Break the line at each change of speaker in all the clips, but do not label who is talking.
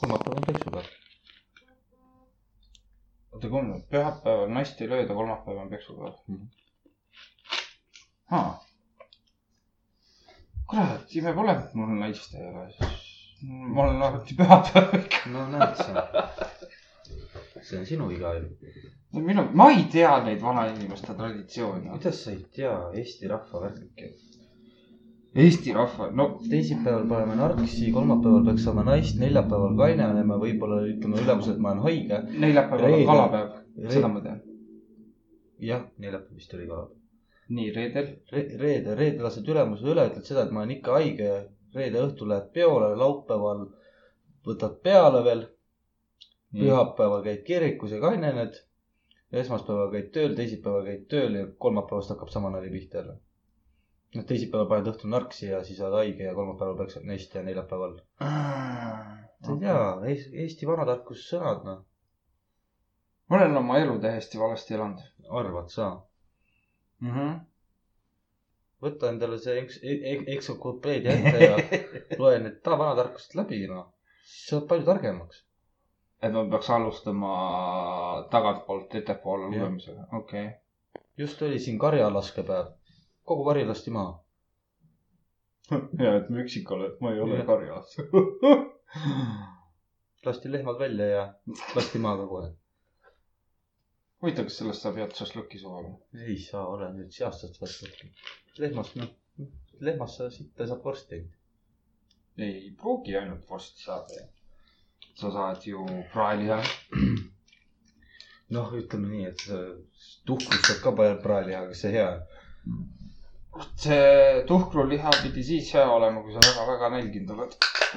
kolmapäeval peksud või ?
oota , kumb , pühapäeval nasti ei lööda , kolmapäeval on peksupäev
Mhm.
hmm. . kurat , ime pole , et mul naist ei ole , siis ma olen alati pühapäeval ikka .
no näed sa . see on sinu viga ju .
no minu , ma ei tea neid vanainimeste traditsioone .
kuidas sa ei tea Eesti rahva värki ?
Eesti rahva , no
teisipäeval paneme narksi , kolmapäeval peaks saama naist , neljapäeval kaineneme , võib-olla ütleme ülemusele , et ma olen haige .
neljapäeval on
Reedel.
kalapäev , seda ma tean .
jah , neljapäev vist oli ka
nii , reedel .
Re . reede , reede lased ülemuse üle , ütled seda , et ma olen ikka haige . reede õhtul lähed peole , laupäeval võtad peale veel ,
Mm.
pühapäeval käid kirikus ja kainened . esmaspäeval käid tööl , teisipäeval käid tööl ja kolmapäevast hakkab sama nali pihta jälle . noh , teisipäeval paned õhtul narksi ja siis oled haige ja kolmapäeval peaks neist ja neljapäeval . sa ei tea , Eesti vanatarkussõnad , noh ,
ma olen oma elu täiesti valesti elanud
arvad sa
mm . -hmm.
võta endale see eks- , eksokopeedia ette ja loe need ta- vanatarkused läbi , noh . siis sa oled palju targemaks .
et ma peaks alustama tagantpoolt ettepoole
Jah.
lugemisega , okei okay. .
just oli siin karjalaskepäev , kogu kari lasti maha .
ja , et ma üksik olen , ma ei
Jah.
karjas .
lasti lehmad välja ja lasti maha ka kohe .
huvitav , kas sellest saab head šašlõkki suvel ?
ei saa , ole nüüd seastast võtnud . lehmast , noh , lehmast sa sitta saab vorsti .
ei pruugi ainult vorsti saada . sa saad ju praeliha .
noh , ütleme nii , et sa tuhkrust saad ka palju praelihaga , see hea .
see tuhkruliha pidi siis hea olema , kui sa väga-väga nälginud oled .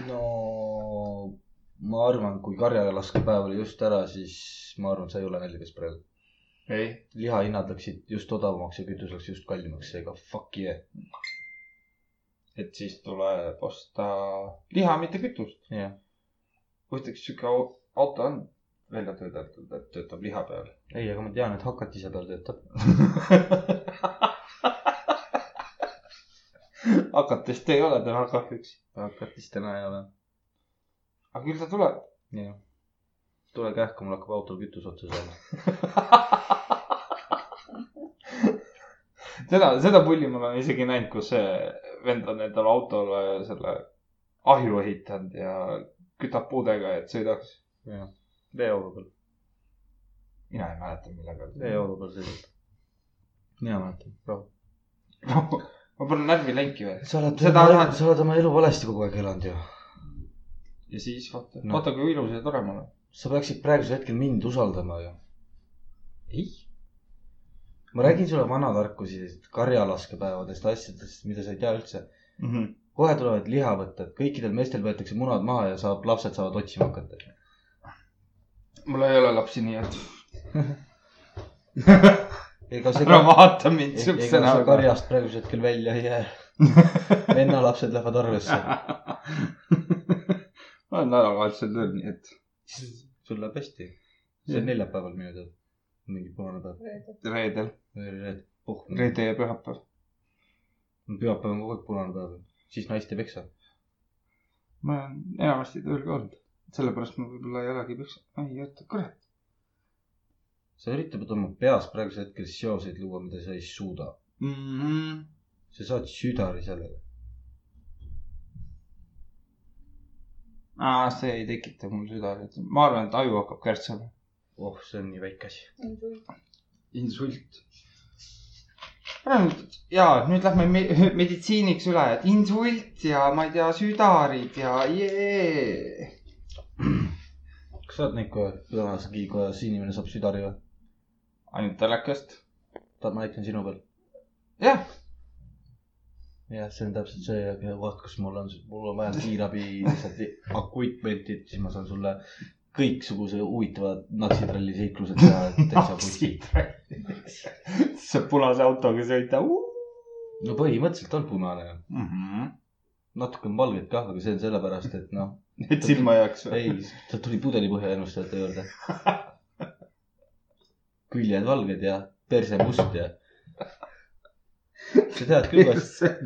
no ma arvan , kui karjalaskepäev oli just ära , siis ma arvan , sa ei ole näljas praegu .
ei ,
lihahinnad läksid just odavamaks ja kütus läks just kallimaks , seega fuck yeah .
et siis tuleb osta liha , mitte kütust .
jah ,
huvitav , kas sihuke au- auto on välja töötatud , et töötab liha peal ?
ei , aga ma tean , et hakatise peal töötab .
hakatest ei ole täna kahjuks .
hakatist täna ei ole .
aga küll ta tuleb .
jah . tule kähku , mul hakkab autol kütus otsa saama .
seda , seda pulli ma olen isegi näinud , kus see vend on endale autole selle ahju ehitanud ja kütab puudega , et sõidaks .
jah , veeauru peal ,
mina ei mäleta , millega .
veeauru peal sõidab . mina mäletan , rahu .
ma panen närvilenki veel .
sa oled ,
Seda alati-
sa oled oma elu valesti kogu aeg elanud ju .
ja siis vaata
No.
no. , vaata kui ilus ja tore ma olen .
sa peaksid praegusel hetkel mind usaldama ju .
ei .
ma räägin sulle vanatarkusi , karjalaskepäevadest , asjadest , mida sa ei tea üldse . Mhm. kohe tulevad lihavõtted , kõikidel meestel võetakse munad maha ja saab , lapsed saavad otsima hakata .
mul ei ole lapsi , nii et
ega see
ära
ka ,
vaata mind
ega
siukse
see
näoga .
karjast praegusel hetkel välja ei jää . vennalapsed lähevad arvesse .
ma olen nädalavahetusel tööl , nii et
sul läheb hästi . see on neljapäeval minu teada . mingi punane päev .
reedel ,
reede , puhkame .
reede ja pühapäev .
pühapäev on kogu aeg punane päev . siis naist ei peksa .
ma olen enamasti tööl ka olnud , sellepärast ma võib-olla ei olegi peksa , ei oota , kurat .
sa üritad oma peas praegusel hetkel seoseid luua , mida sa ei suuda .
Mhm.
sa saad südari sellele .
aa , see ei tekita mul süda , ma arvan , et aju hakkab kärtsama .
oh , see on nii väike asi .
insult . ja nüüd lähme me meditsiiniks üle , et insult ja ma ei tea , südarid ja jee .
kas sa oled näinud kohe , tänases kiikojas inimene saab südari või ?
ainult telekast ?
tahad , ma näitan sinu peal ?
jah ,
jah , see on täpselt see koht , kus mul on , mul on vaja kiirabi lihtsalt akuitmentit , siis ma saan sulle kõiksuguse huvitavad natsitralli seiklused teha , et
Ah,
täitsa puti .
see punase autoga sõita .
no põhimõtteliselt on punane ,
Mhm.
natuke on valget ka , aga see on sellepärast , et noh ,
et silma ei jääks või ?
ei , ta tuli pudelipõhja ennustajate juurde . küljed valged ja perse must ja . sa tead küll , kuidas , tead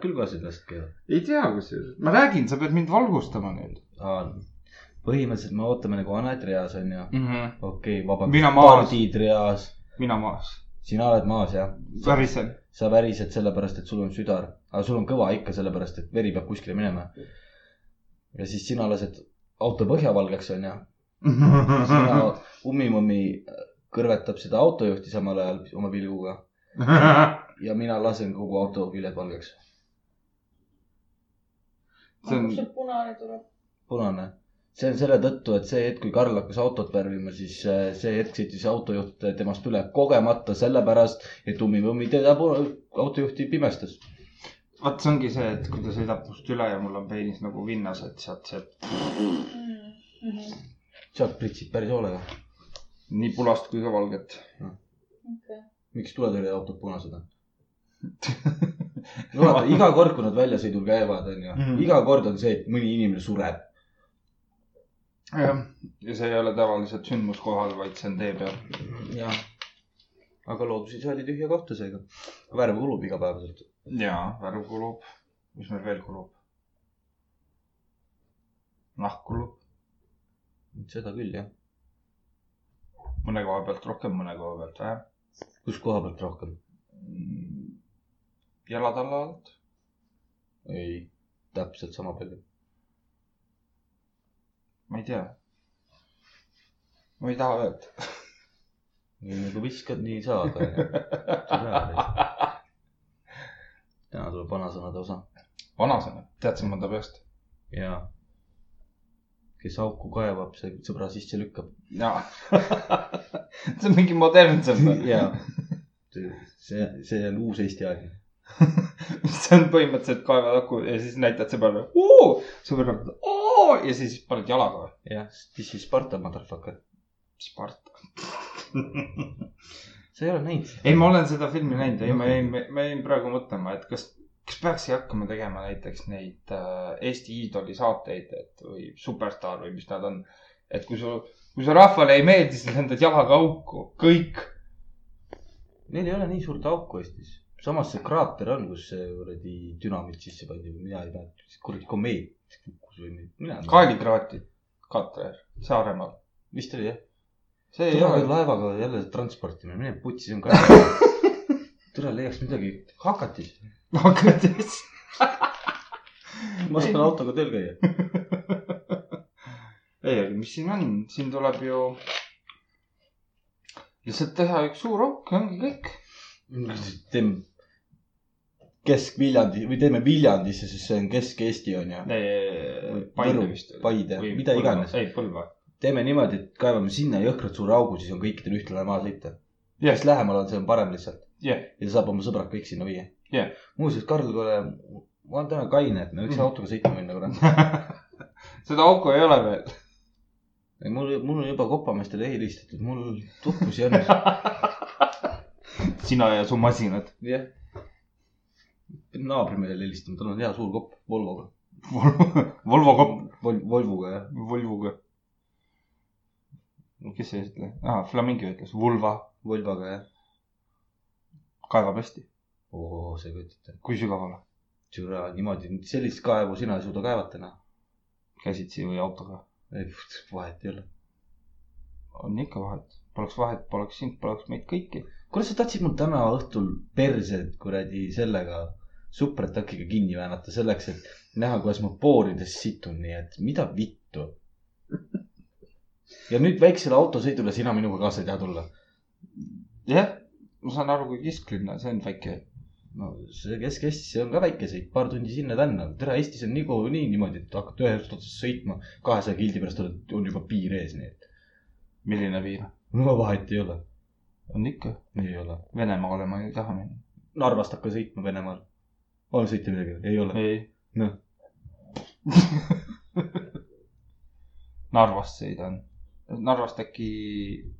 küll , kuidas ennast käib .
ei tea kusjuures , ma räägin , sa pead mind valgustama nüüd .
aa , põhimõtteliselt me ootame nagu Anet reas onju .
mm . -hmm.
okei okay, ,
Mina
vabandust ,
maas.
pardid reas .
mina maas ,
sina oled maas jah ?
päriselt .
sa värised sellepärast , et sul on südar , aga sul on kõva ikka sellepärast , et veri peab kuskile minema . ja siis sina lased auto põhjavalgeks onju . sina ummimõmmi äh, kõrvetab seda autojuhti samal ajal oma pilguga ja mina lasen kogu auto küljed valgeks .
see on
kust see punane tuleb ?
punane . see on selle tõttu , et see hetk , kui Karl hakkas autot värvima , siis äh, see hetk sõitis autojuht temast üle kogemata sellepärast , et ummimõmmi teda pu- autojuhti pimestas .
vot see ongi see , et kui ta sõidab must üle ja mul on peenis nagu vinnas , et sealt see
Mm, mhm.
sealt pritsib päris hoolega .
nii punast kui ka valget .
okei .
miks tuletõrjeautod punased on ? no vaata , iga kord , kui nad väljasõidul käivad , onju
Mhm. ,
iga kord on see , et mõni inimene sureb .
jah , ja see ei ole tavaliselt sündmuskohal , vaid see on tee peal .
jah . aga looduses oli tühja kohta seega . värv kulub igapäevaselt .
jaa , värv kulub . mis meil veel kulub ? nahk kulub ,
seda küll , jah .
mõne koha pealt rohkem , mõne koha pealt vähem .
kus koha pealt rohkem ?
jalad alla alt ,
ei , täpselt sama palju .
ma ei tea . ma ei taha öelda .
nii nagu viskad , nii saad , onju . täna tuleb vanasõnade osa .
vanasõna , tead sa mõnda peast ?
jaa . kes auku kaevab , see sõbra sisse lükkab .
jaa . see on mingi modernsem .
jaa . see , see on uus Eesti aeg .
see on põhimõtteliselt kaevad aku ja siis näitad sõbrale , oo , sõber ütleb , oo ja siis paned jalaga .
jah , this is Sparta , motherfucker .
Sparta .
sa ei ole näinud seda ?
ei , ma olen seda filmi näinud ja ma jäin , ma jäin praegu mõtlema , et kas , kas peakski hakkama tegema näiteks neid äh, Eesti Iidoli saateid , et või Superstaar või mis nad on . et kui sul , kui su rahvale ei meeldi , siis lendad jalaga auku , kõik .
Neil ei ole nii suurt auku Eestis . samas see kraater on , kus see kuradi dünamiit sisse pandi või mina ei mäleta , kuradi komeet kukkus või mi- mina .
Kaalikraati , Katler , Saaremaal .
vist oli jah .
see ei
tule
ole
kui . laevaga jälle transportimine , mine putsi , see on kaev . tule leiaks midagi , hakatis .
hakkatis .
ma saan autoga tööl käia .
ei , aga mis siin on , siin tuleb ju lihtsalt teha üks suur auk ja ongi kõik .
teeme Kesk-Viljandi või teeme Viljandisse , sest see on Kesk-Eesti on ju .
Paide
Võru,
vist .
Paide, mida iganes.
ei , Põlva .
teeme niimoodi , et kaevame sinna jõhkralt suure augu , siis on kõikidel ühtlane maa sõita .
Jah.
mis lähemal on , see on parem lihtsalt .
jah ,
ja ta saab oma sõbrad kõik sinna viia
Jah.
muuseas , Karl , kuule , ma olen täna kaine , et me võiks
Mhm.
autoga sõitma minna , kurat .
seda auku ei ole veel .
ei , mul , mul on juba kopameestele helistatud , mul tuhkus jäänud .
sina ja su masinad .
jah . naabrimehele helistama , tal on hea suur kopp Volvoga .
Volvo kopp ,
Vol- , Volvoga jah .
Volvoga . kes see ütles ? aa , Flamingo ütles , vulva
Volvoga jah .
kaevab hästi .
oo , sa ei kujuta ette .
kui sügavale ?
türa , niimoodi , sellist kaevu sina ei suuda kaevata enam .
käsitsi või autoga ?
ei , vahet ei ole .
on ikka vahet , poleks vahet , poleks sind , poleks meid kõiki .
kuule , sa tahtsid mul täna õhtul perset kuradi sellega supratakiga kinni väänata selleks , et näha , kuidas ma poorides situn , nii et mida vittu . ja nüüd väiksele autosõidule sina minuga kaasa ei taha tulla .
jah , ma saan aru , kui kesklinna , see on väike
no see Kesk-Eestis see on ka väike sõit , paar tundi sinna-tänna . tere , Eestis on niikuinii niimoodi , et hakkad ühest otsast sõitma , kahesaja kildi pärast oled , on juba piir ees , nii et
milline piir ?
no vahet ei ole .
on ikka ,
ei ole .
Venemaale ma ei taha minna .
Narvast hakka sõitma Venemaal . on sõita midagi ? ei ole .
ei .
Noh. .
Narvast sõidan , Narvast äkki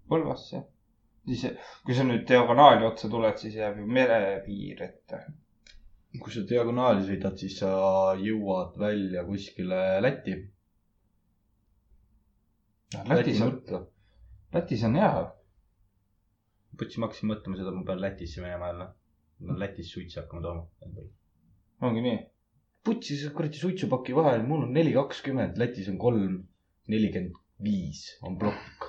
Põlvasse . siis , kui sa nüüd diagonaali otsa tuled , siis jääb ju merepiir ette .
kui sa diagonaali sõidad , siis sa jõuad välja kuskile Lätti .
Lätis on ,
nurka .
Lätis on hea .
putsi , ma hakkasin mõtlema seda , et ma pean Lätisse minema jälle . ma pean Lätis suitsu hakkama tooma .
ongi nii .
putsi , see kuradi suitsupaki vahe , mul on neli kakskümmend , Lätis on kolm nelikümmend viis on plokk .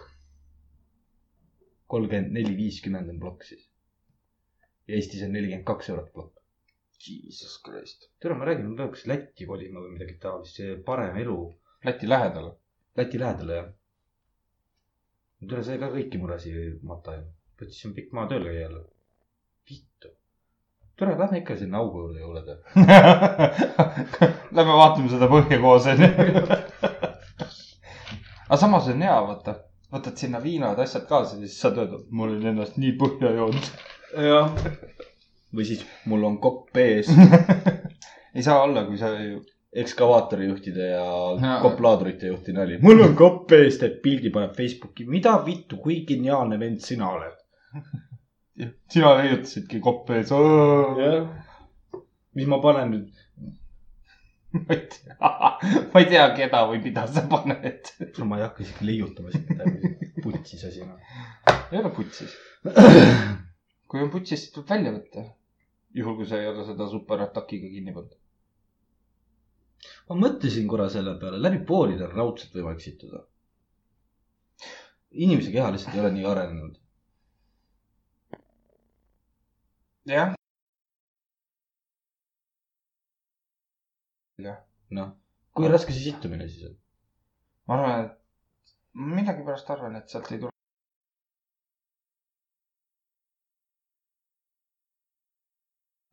kolmkümmend neli , viiskümmend on plokk siis . ja Eestis on nelikümmend kaks eurot plokk .
Jesus Christ .
tere , ma räägin , me peaks Lätti kolima või midagi taolist , see parem elu .
Läti lähedal .
Läti lähedale jah . tere , see ka kõiki muresid ei mata ju . võttis siin pikk maa tööle käia jälle . vittu . tere , lähme ikka sinna augu juurde jõulude .
Lähme vaatame seda põhja koos onju . aga samas on hea , vaata , võtad sinna viinad , asjad kaasa , siis saad öelda , ma olen ennast nii põhja joonud .
jah . või siis mul on kopp ees
ei saa olla , kui sa ju ,
ekskavaatorijuhtide ja
Jaa.
koplaadurite juhti nali . mul on kopp ees , teeb pildi , paneb Facebooki , mida vittu , kui geniaalne vend sina oled .
sina leiutasidki kopp ees .
jah . mis ma panen nüüd ,
ma ei tea , ma ei tea , keda või mida sa paned .
ma ei hakka isegi leiutama siin midagi , putsis asi noh .
ei ole putsis . kui on putsis , siis tuleb välja võtta . juhul , kui sa ei ole seda superatakiga kinni pannud .
ma mõtlesin korra selle peale , läbi poolide on raudselt võimalik sittuda . inimese keha lihtsalt ei ole nii arenenud .
jah .
noh , kui raske see sittumine siis on ?
ma arvan , et ma millegipärast arvan , et sealt ei tule .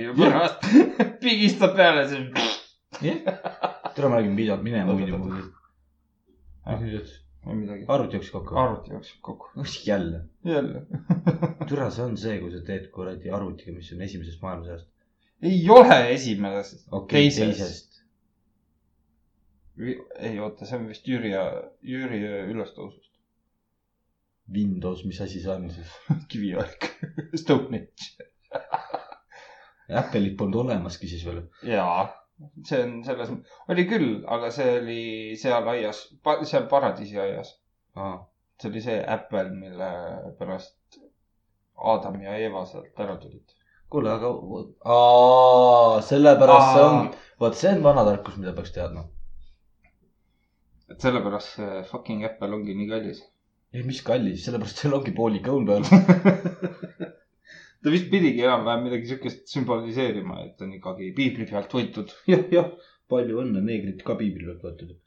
ja pärast pigistab peale , siis .
tule , ma räägin pidevalt minema
Oot, oot,
muidu
oot. .
mis nüüd ütles ?
ei midagi .
arvuti jooksis kokku .
arvuti jookseb kokku .
mis jälle ?
jälle .
türa , see on see , kui sa teed kuradi arvutiga , mis on esimesest maailmasõjast .
ei ole esimeses .
okei okay, ,
Teisest.
teisest .
ei oota , see on vist Jüri , Jüri ülestõusust .
Windows , mis asi see on siis ?
kiviaeg . Estonia .
Apple'it polnud olemaski siis veel .
jaa , see on selles , oli küll , aga see oli seal aias , seal paradiisi aias . see oli see äppel , mille pärast Adam ja Eva sealt ära tulid .
kuule , aga aa , sellepärast see on , vot see on vana tarkus , mida peaks teadma .
et sellepärast see fucking äppel ongi nii kallis .
ei , mis kallis , sellepärast seal ongi poolik õun peal .
ta vist pidigi enam-vähem midagi siukest sümboliseerima , et on ikkagi piibli pealt võitud .
jah , jah , palju õnne , neegrid ka piibli pealt võetud .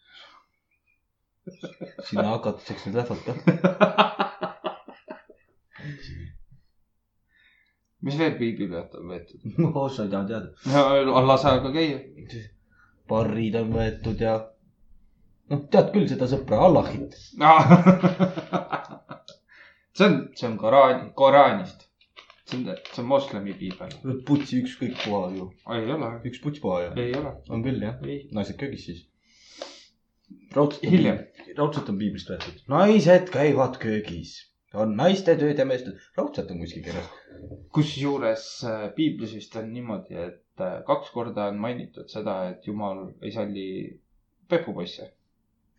sinna hakatakse nüüd lähvalt ka .
mis veel piibli pealt on võetud ?
oh , sa ei taha teada .
las aega käia .
barrid on võetud ja noh , tead küll seda sõpra , Allahit .
see on , see on Koraan , Koraanist . see on , see on moslemi piibel .
putsi ükskõik puha ju ,
ei ole ,
üks puts puha ju .
ei ole .
on küll jah ,
ei ,
naised köögis siis . raudselt on
hiljem .
piib- raudselt on piiblist võetud . naised käivad köögis , on naiste tööd ja meeste , raudselt on kuskil kirjas .
kusjuures äh, piiblis vist on niimoodi , et äh, kaks korda on mainitud seda , et jumal ei salli pepupoisse .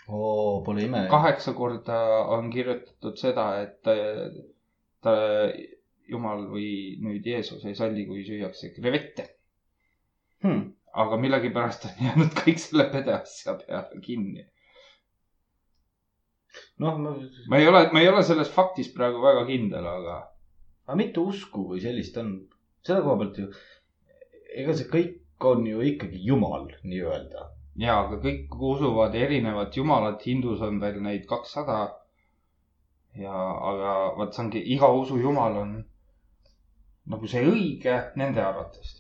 oo , pole ime .
kaheksa korda on kirjutatud seda , et äh, ta , jumal või nüüd Jeesus ei salli , kui süüakse krevette .
Hmm.
aga millegipärast on jäänud kõik selle pede asja peale kinni .
noh , ma ,
ma ei ole , ma ei ole selles faktis praegu väga kindel , aga
aga mitu usku või sellist on , selle koha pealt ju , ega see kõik on ju ikkagi jumal nii-öelda .
ja , aga kõik usuvad erinevat jumalat , hindus on veel neid kakssada . ja , aga vot see ongi iga usu jumal on nagu see õige nende arvates .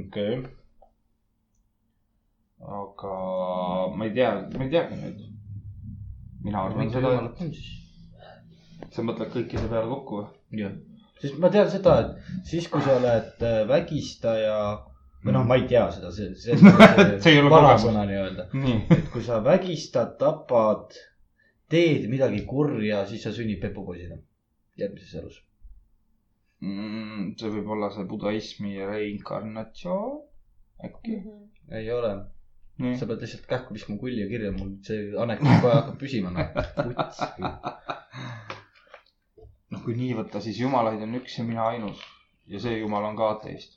okei .
aga ma ei tea , ma ei teagi nüüd . mina arvan seda , et sa mõtled kõikide peale kokku või ?
jah , sest ma tean seda , et siis kui sa oled äh, vägistaja või noh , ma ei tea seda , see , see,
See ei ole
vanasõna nii-öelda ,
nii ,
et kui sa vägistad , tapad , teed midagi kurja , siis sa sünnid pepupoisina järgmises elus .
Mm, see võib olla see budaismi reinkarnatsioon äkki .
Mhm.
ei ole
nii
sa , pead lihtsalt kähku viskama kulli ja kirja , mul see anekdoot kohe hakkab püsima , noh .
noh , kui nii võtta , siis jumalaid on üks ja mina ainus ja see jumal on ka ateist ,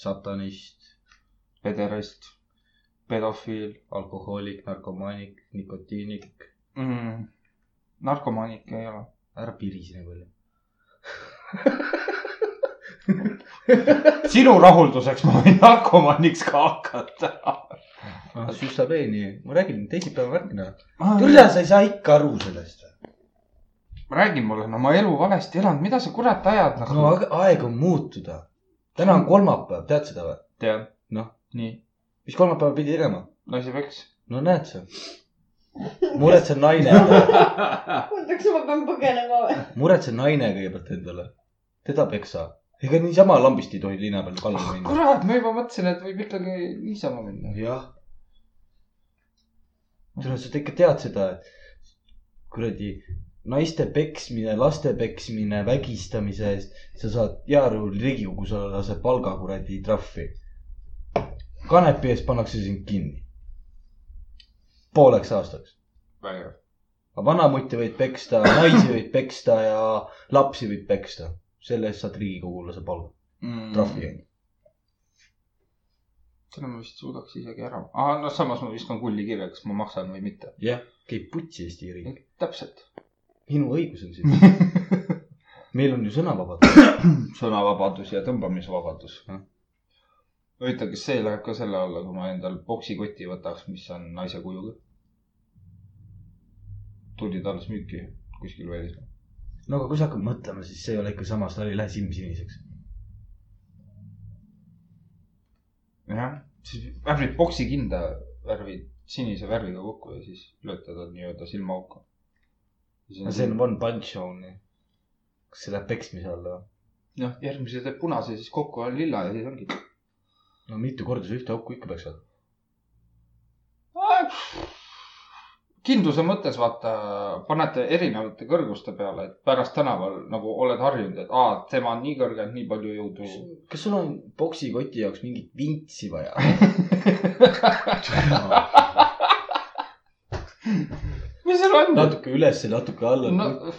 satanist ,
pederast , pedofiil
alkohoolik , narkomaanik , nikotiinik ,
mm, . narkomaanik ei ole .
ära pirise nagu nii palju .
sinu rahulduseks ma võin narkomaaniks ka hakata .
ah , sussa peeni , ma räägin teisipäeva värkina . Tõrja , sa ei saa ikka aru sellest .
räägi mulle , no ma elu valesti elanud , mida sa kurat ajad nagu
no
no, ?
aga aeg on muutuda . täna on kolmapäev , tead seda või ?
tead .
Noh.
nii ,
mis kolmapäeval pidi tegema ?
naisi peks .
no näed sa . muretse naine ,
oota , kas ma pean põgenema või ?
muretse naine kõigepealt endale . teda peksa . ega niisama lambist ei tohi linna peal kallale minna .
kurat , ma juba mõtlesin , et võib ikkagi niisama minna .
jah . sa sa ikka tead seda , et kuradi naiste peksmine , laste peksmine , vägistamise eest , sa saad jaaruul Riigikogusele lase palga kuradi trahvi . kanepi ees pannakse sind kinni . pooleks aastaks .
vägev .
aga vanamutti võid peksta , naisi võid peksta ja lapsi võid peksta . selle eest saad Riigikogulase palga ,
Mm.
trahvi .
selle ma vist suudaks isegi ära . aa , no samas ma viskan kulli kirja , kas ma maksan või mitte .
käib putsi Eesti riik .
täpselt .
minu õigus on siin . meil on ju sõnavabadus .
sõnavabadus ja tõmbamisvabadus
Jah. .
huvitav , kas see läheb ka selle alla , kui ma endal poksikoti võtaks , mis on naise kujuga ? tulid alles müüki kuskil välismaal .
no aga kui sa hakkad mõtlema , siis see ei ole ikka sama , seal ei lähe silm siniseks .
jah , siis värvid poksikinda , värvid sinise värviga kokku ja siis löötad nad nii-öelda silmaauku .
aga see on one punch on'i . kas see läheb peksmise alla või ?
noh , järgmise teeb punase , siis kokku on lilla ja siis ongi .
no mitu korda sa ühte auku ikka peksad ?
kindluse mõttes vaata , panete erinevate kõrguste peale , et pärast tänaval nagu oled harjunud , et aa , tema on nii kõrge , nii palju jõudu .
kas sul on poksikoti jaoks mingit vintsi vaja ?
mis seal on ?
natuke ülesse , natuke alla
no
no. .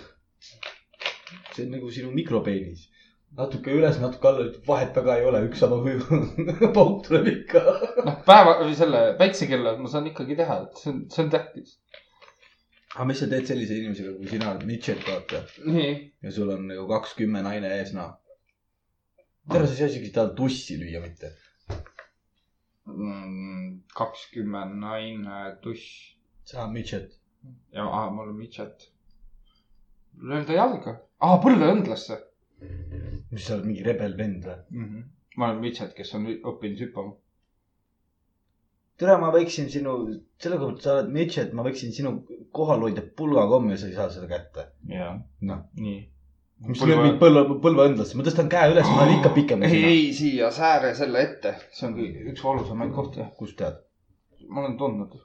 see on nagu sinu mikropeenis . natuke üles , natuke alla , vahet väga ei ole , üks sama kuju . pauk tuleb ikka .
noh , päeva või selle väikse kella ma saan ikkagi teha , et see on , see on tähtis .
aga mis sa teed sellise inimesega , kui sina oled midžet , vaata ,
nii .
ja sul on nagu kakskümmend naine ees , noh . tere , sa ei saa isegi tal tussi lüüa mitte .
Mm, kakskümmend naine tuss
sa oled midžet .
ja aa, ma olen midžet . löön ta jalga , aa põlveõndlasse
mis sa oled , mingi rebelvend või ?
mm . -hmm. ma olen midžet , kes on õppinud hüppama .
tere , ma võiksin sinu , selle kohta , et sa oled midžet , ma võiksin sinu kohal hoida pulgakommi ja sa ei saa seda kätte .
jah
Noh.
nii .
mis lööb mind põlve , põlveõndlasse , ma tõstan käe üles , ma olen ikka pikem kui
ei ,
sina .
ei siia sääre selle ette , see on kõi- üks valusamaid
Mm.
kohti ,
kust tead ?
ma olen tundnud .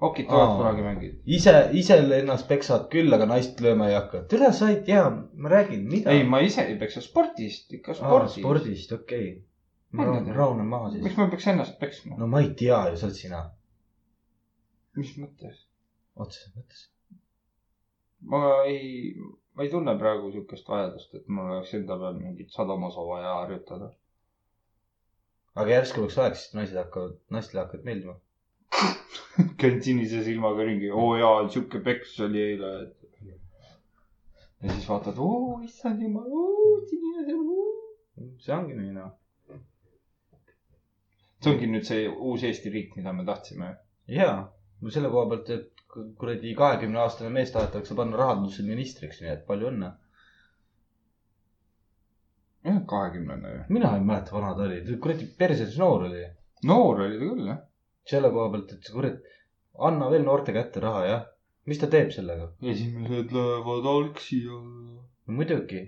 okid tulevad
Aa.
kunagi mängida .
ise , ise ennast peksad küll , aga naist lööma ei hakka . tere , sa ei tea , ma räägin , mida .
ei , ma ise ei peksa spordist , ikka spordist .
spordist , okei okay. . ma
Ma
rahunen
tean.
rahunen maha siis
miks . ma peaks ennast peksma no. ?
no ma ei tea ju , sa oled sina ,
mis mõttes ?
otseses mõttes .
ma ei , ma ei tunne praegu sihukest vajadust , et mul oleks enda peal mingit sadamasu vaja harjutada .
aga järsku oleks aeg , siis naised hakkavad , naistele hakkavad meeldima .
käin sinise silmaga ringi , oo jaa , sihuke peks oli eile . ja siis vaatad , oo issand jumal , oo sinine silm .
see ongi nii noh .
see ongi nüüd see uus Eesti riik , mida me tahtsime
jaa , selle koha pealt , et ku- kuradi kahekümne aastane mees tahetakse panna rahandusministriks , nii et palju õnne .
jah , kahekümnene ju .
mina ei mäleta , vana ta oli , kuradi perses noor oli .
noor oli ta küll jah .
selle koha pealt , et kurat , anna veel noorte kätte raha , jah . mis ta teeb sellega ?
esimesed löövad algsi alla .
no muidugi ,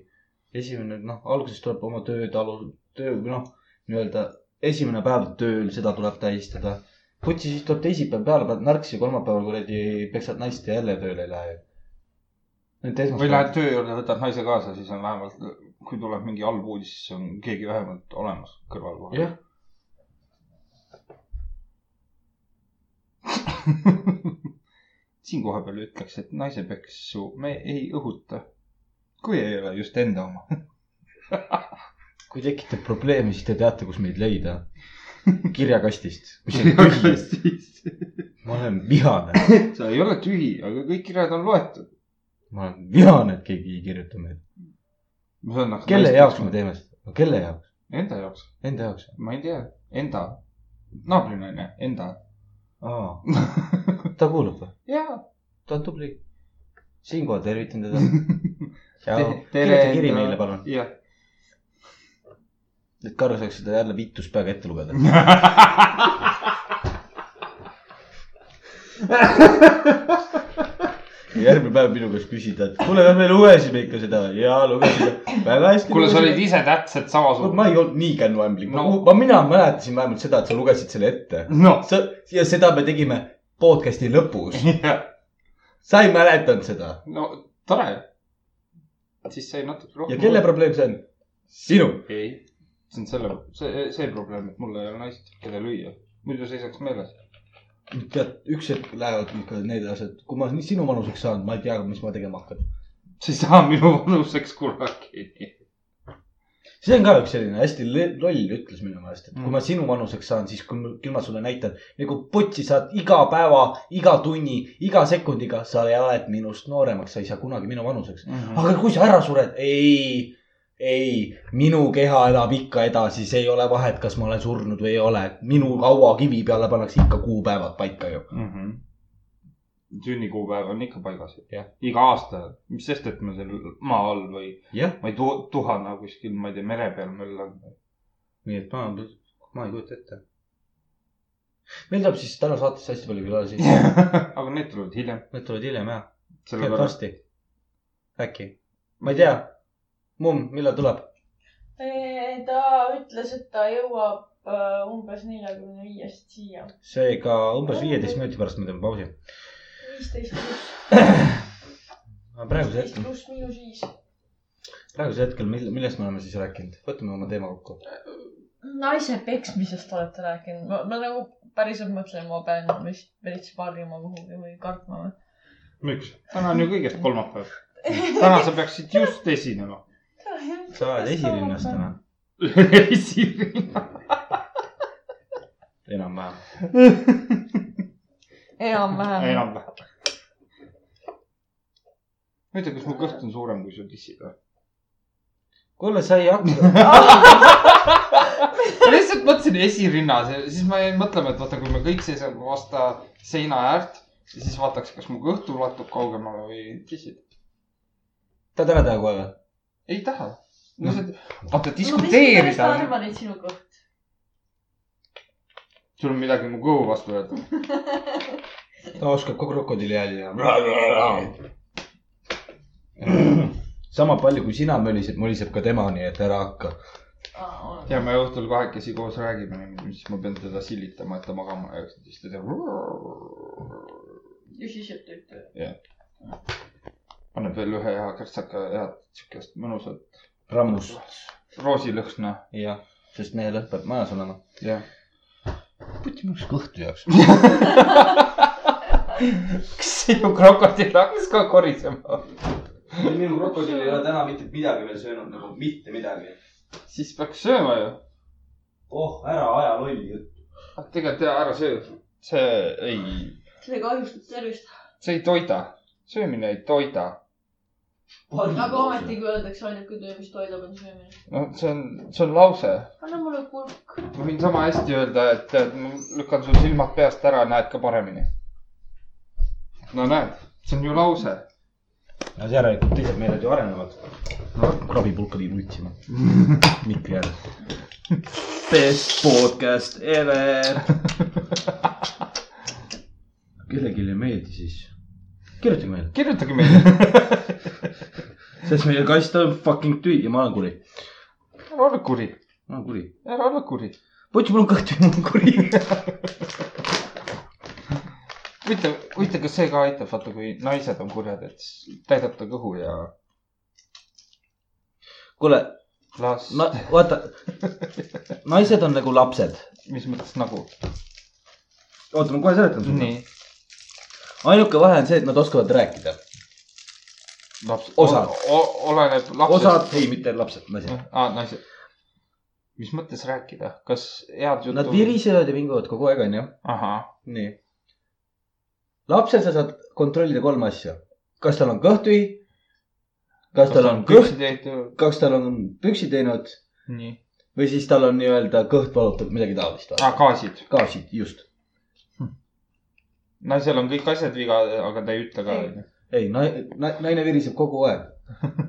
esimene noh , alguses tuleb oma tööd alu- , töö või noh , nii-öelda esimene päev tööl , seda tuleb tähistada . putsi , siis tuleb teisipäev peale , paned narksi ja kolmapäeval kuradi peksad naist ja jälle tööle ei lähe ju . nüüd
või lähed
esmaspäeval ,
töö juurde , võtad naise kaasa , siis on vähemalt , kui tuleb mingi halb uudis , siis on keegi vähemalt olemas kõrval kohe .
jah ,
siin kohapeal ütleks , et naisepeksu me ei õhuta . kui ei ole just enda oma .
kui tekitab probleeme , siis te teate , kus meid leida . kirjakastist , mis on tühi .
siis .
ma olen vihane ,
sa ei ole tühi , aga kõik kirjad on loetud .
ma olen vihane , et keegi ei kirjuta meile . kelle jaoks me ? teeme seda ? no kelle jaoks ?
nagu Enda jaoks ,
Enda jaoks .
ma ei tea , enda , naabrinaine , enda .
aa , ta kuulab või ?
jaa .
ta on tubli . siinkohal tervitan teda .
tere
kirjuta kiri
enda-
meile , palun .
jah .
et Karl saaks seda jälle vitus peaga ette lugeda . järgmine päev minu käest küsida , et kuule , me lugesime ikka seda ja lugesime väga hästi .
kuule , sa olid ise täpselt
no, .
samasugune .
ma ei olnud nii kännuämblik no.
No. ,
ma , mina mäletasin vähemalt seda , et sa lugesid selle ette .
noh .
sa , ja seda me tegime podcast'i lõpus . sa ei mäletanud seda
no tore . siis sai natuke rohkem .
ja kelle ? probleem see on ? sinu .
ei , see on selle , see , see probleem , et mul ei ole naist , keda lüüa . muidu seisaks meeles .
tead , üks hetk lähevad ikka need asjad , kui ma nii sinu vanuseks saan , ma ei tea , mis ma tegema hakkan .
sa ei saa minu vanuseks kunagi .
see on ka üks selline hästi le- loll ütlus minu meelest , et kui
Mm.
ma sinu vanuseks saan , siis kui ma- küll ma sulle näitan , nagu putsi saad iga päeva , iga tunni , iga sekundiga , sa oled minust nooremaks , sa ei saa kunagi minu vanuseks . aga kui sa ära sured , ei , ei , minu keha elab ikka edasi , see ei ole vahet , kas ma olen surnud või ei ole . minu hauakivi peale pannakse ikka kuupäevad paika ju .
mm . -hmm. sünnikuupäev on ikka paigas , jah . iga aasta , mis sest , et ma seal maa all või
jah ,
ma ei tu- , tuhana kuskil , ma ei tea , mere peal möllan .
nii et ma , ma ei kujuta ette . meil tuleb siis täna saates hästi palju külalisi ,
aga need tulevad hiljem .
need tulevad hiljem jah , tuleb
sellepärast ,
varsti . äkki , ma ei tea . mumm , millal tuleb ?
ta ütles , et ta jõuab äh, umbes neljakümne viiest siia .
seega umbes viieteist minuti pärast me teeme pausi .
viisteist pluss ,
praegusel
viisteist
hetkel ,
pluss miinus viis .
praegusel hetkel , millest me oleme siis rääkinud , võtame oma teema kokku .
naise peksmisest olete rääkinud , ma nagu päriselt mõtlen , ma pean vist veits varjuma kuhugi või kartma või ?
miks ? täna on ju kõigest kolmapäev . täna sa peaksid just esinema .
sa oled esirinnas täna ,
esinema .
enam-vähem .
enam-vähem .
enam-vähem . ma ei tea , kas mu kõht on suurem kui su tissid või ?
kuule , sa ei hakka ,
ma lihtsalt mõtlesin esirinnas ja siis ma jäin mõtlema , et vaata , kui me kõik seisame vastu seina äärt , siis vaataks , kas mu kõht ulatub kaugemale või tissid .
tahad ära teha kohe või ?
ei taha . no see , Mm. vaata diskuteerida
ma . arvan , et sinu kõht .
sul on midagi mu kõhu vastu öelda .
ta oskab ka krokodilli hääli teha . sama palju kui sina mölised , möliseb ka tema , nii et ära hakka .
ja me õhtul kahekesi koos räägime , siis ma pean teda silitama , et ta magama ei jääks , siis ta teeb .
ja siis jääb tööd tööle .
paneb veel ühe hea kertsaka , head siukest mõnusat
rammust .
roosilõhna .
jah , sest meie lõhn peab majas olema .
jah .
putsi mul üks kõht tühjaks .
kas sinu krokodill hakkas ka korisema ?
minu krokodill ei ole täna mitte midagi veel söönud , nagu mitte midagi .
siis peaks sööma ju .
oh , ära aja lolli juttu .
tegelikult jaa , ära söö . see ei ,
see kahjustab tervist .
see ei toida . söömine ei toida .
aga ometigi öeldakse ainuke töö , mis toidab , on söömine .
no see on , see on lause .
anna mulle kulk .
ma võin sama hästi öelda , et tead , ma lükkan sul silmad peast ära , näed ka paremini . no näed , see on ju lause .
no see järelikult teised meeled ju arenevad . krabipulka viib utsima . mikri ääres . Best podcast ever . kellelegi ei meeldi siis ? kirjutage meile ,
kirjutage meile ,
sest meie kast on fucking tühi ja ma olen kuri ,
ära ole kuri ,
ma olen kuri .
ära ole kuri .
putsi , mul on kõht tühi , ma olen kuri .
huvitav , huvitav , kas see ka aitab , vaata , kui naised on kurjad , et siis täidab ta kõhu ja
kuule ,
las
no
no. ,
vaata , naised on nagu lapsed .
mis mõttes nagu .
oota , ma kohe seletan sulle .
nii ,
ainuke vahe on see , et nad oskavad rääkida .
laps ,
Osad.
oleneb lapsest .
osad , ei , mitte lapsed , naised .
aa , naised , mis mõttes rääkida , kas head juttu ?
Nad virisevad ja vinguvad kogu aeg , onju .
ahah ,
nii . lapsel sa saad kontrollida kolme asja . kas tal on kõhtühi , kas tal on kõht ,
tehtud ,
kas tal on püksi teinud
nii .
või siis tal on nii-öelda kõht valutab midagi taolist
aa ,
või ?
gaasid .
gaasid , just .
no seal on kõik asjad viga , aga ta ei ütle ka .
ei , naine viriseb kogu aeg .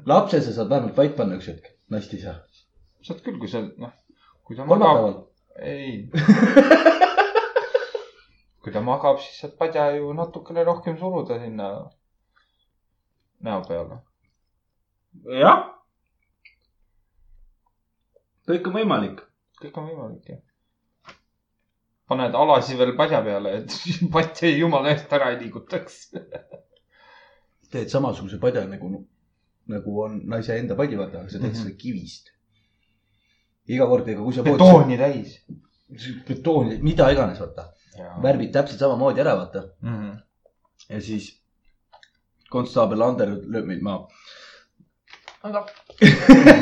lapse sa saad vähemalt vait panna üks hetk , naist ei saa .
saad küll , kui sa , noh , kui ta magab ,
kolmapäeval .
ei kui ta magab , siis saad padja ju natukene rohkem suruda sinna näo peale .
jah . kõik on võimalik .
kõik on võimalik ju . paned alasi veel padja peale , et patja jumala eest ära ei liigutaks .
teed samasuguse padja nagu , nagu on naise enda padi , vaata , aga sa teed seda kivist . iga kord , ega kui sa .
betooni täis .
betooni , mida iganes , vaata . värvid täpselt samamoodi ära , vaata .
Mhm.
ja siis konstaabel Ander lööb meid maha .
aga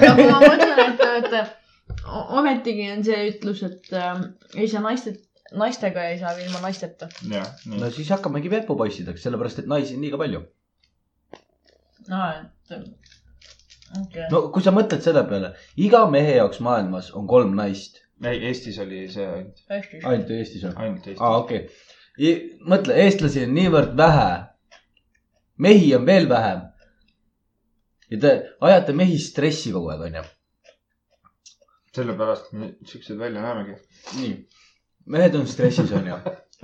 aga ma mõtlen , et , et o- ometigi on see ütlus , et äh, ei saa naiste , naistega ei saa ilma naisteta .
jah ,
no
nii .
siis hakkamegi vepupoissideks , sellepärast et naisi on liiga palju .
aa , et ähm, okei .
no kui sa mõtled selle peale , iga mehe jaoks maailmas on kolm naist ,
ei , Eestis oli see ainult ,
hästi .
ainult Eestis on .
ainult Eestis
aa , okei okay. . mõtle , eestlasi on niivõrd vähe . mehi on veel vähem . ja te ajate mehi stressi kogu aeg , onju .
sellepärast me siuksed välja näemegi .
nii . mehed on stressis , onju .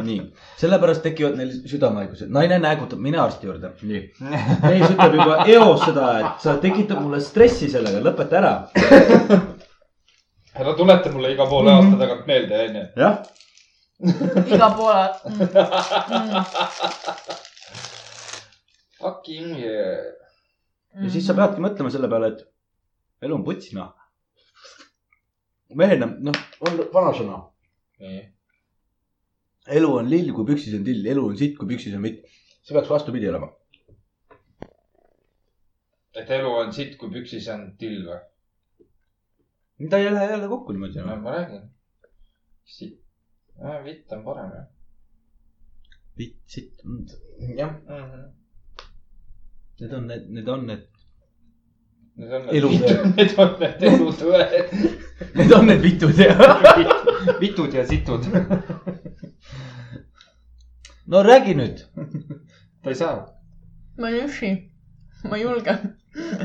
nii , sellepärast tekivad neil südamehaigused . naine näägutab , mine arsti juurde . nii . mees ütleb juba eos seda , et sa tekitad mulle stressi sellega , lõpeta ära .
ära tuleta mulle iga poole aasta tagant meelde , onju .
jah ,
iga poole mm, . Mm,
Fucking yeah. .
mm.
ja siis sa . peadki mõtlema selle peale , et elu on putsina . mehena , noh , on vanasõna
nii .
elu on lill , kui püksis on till , elu on sitt , kui püksis on vitt . see peaks vastupidi olema .
et elu on sitt , kui püksis on till või ?
ta ei lähe jälle kokku niimoodi
no
enam .
ma räägin . sitt . vitt on parem jah
vitt , sitt . jah ,
mm -hmm. .
need on need , need on need ,
Need on
Elutõe.
need , need on need elutõed .
need on need vitud ja .
vitud ja situd .
no räägi nüüd .
ta ei saa .
ma ei üksi , ma ei julge .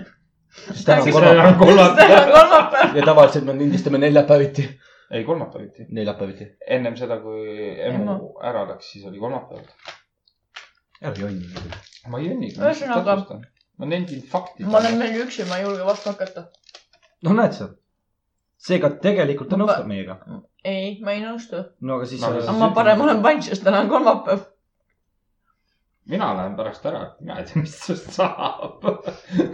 täna on
Räägi
kolmapäev
kolmapäev .
ja tavaliselt me lindistame neljapäeviti .
ei , kolmapäeviti .
neljapäeviti .
ennem seda , kui emu
Emu.
ära läks , siis oli kolmapäev .
ärge jonni .
ma ei jõnniga .
Ühesõnaga- .
ma nendin fakti .
ma olen veel üksi , ma ei julge vastu hakata .
no näed sa , seega tegelikult ta
Ma-
nõustub meiega .
ei , ma ei nõustu .
no aga siis
No aga
aga
sa
siis-
ma parem olen panš , sest täna on kolmapäev .
mina lähen pärast ära , mina ei tea , mis sest saab .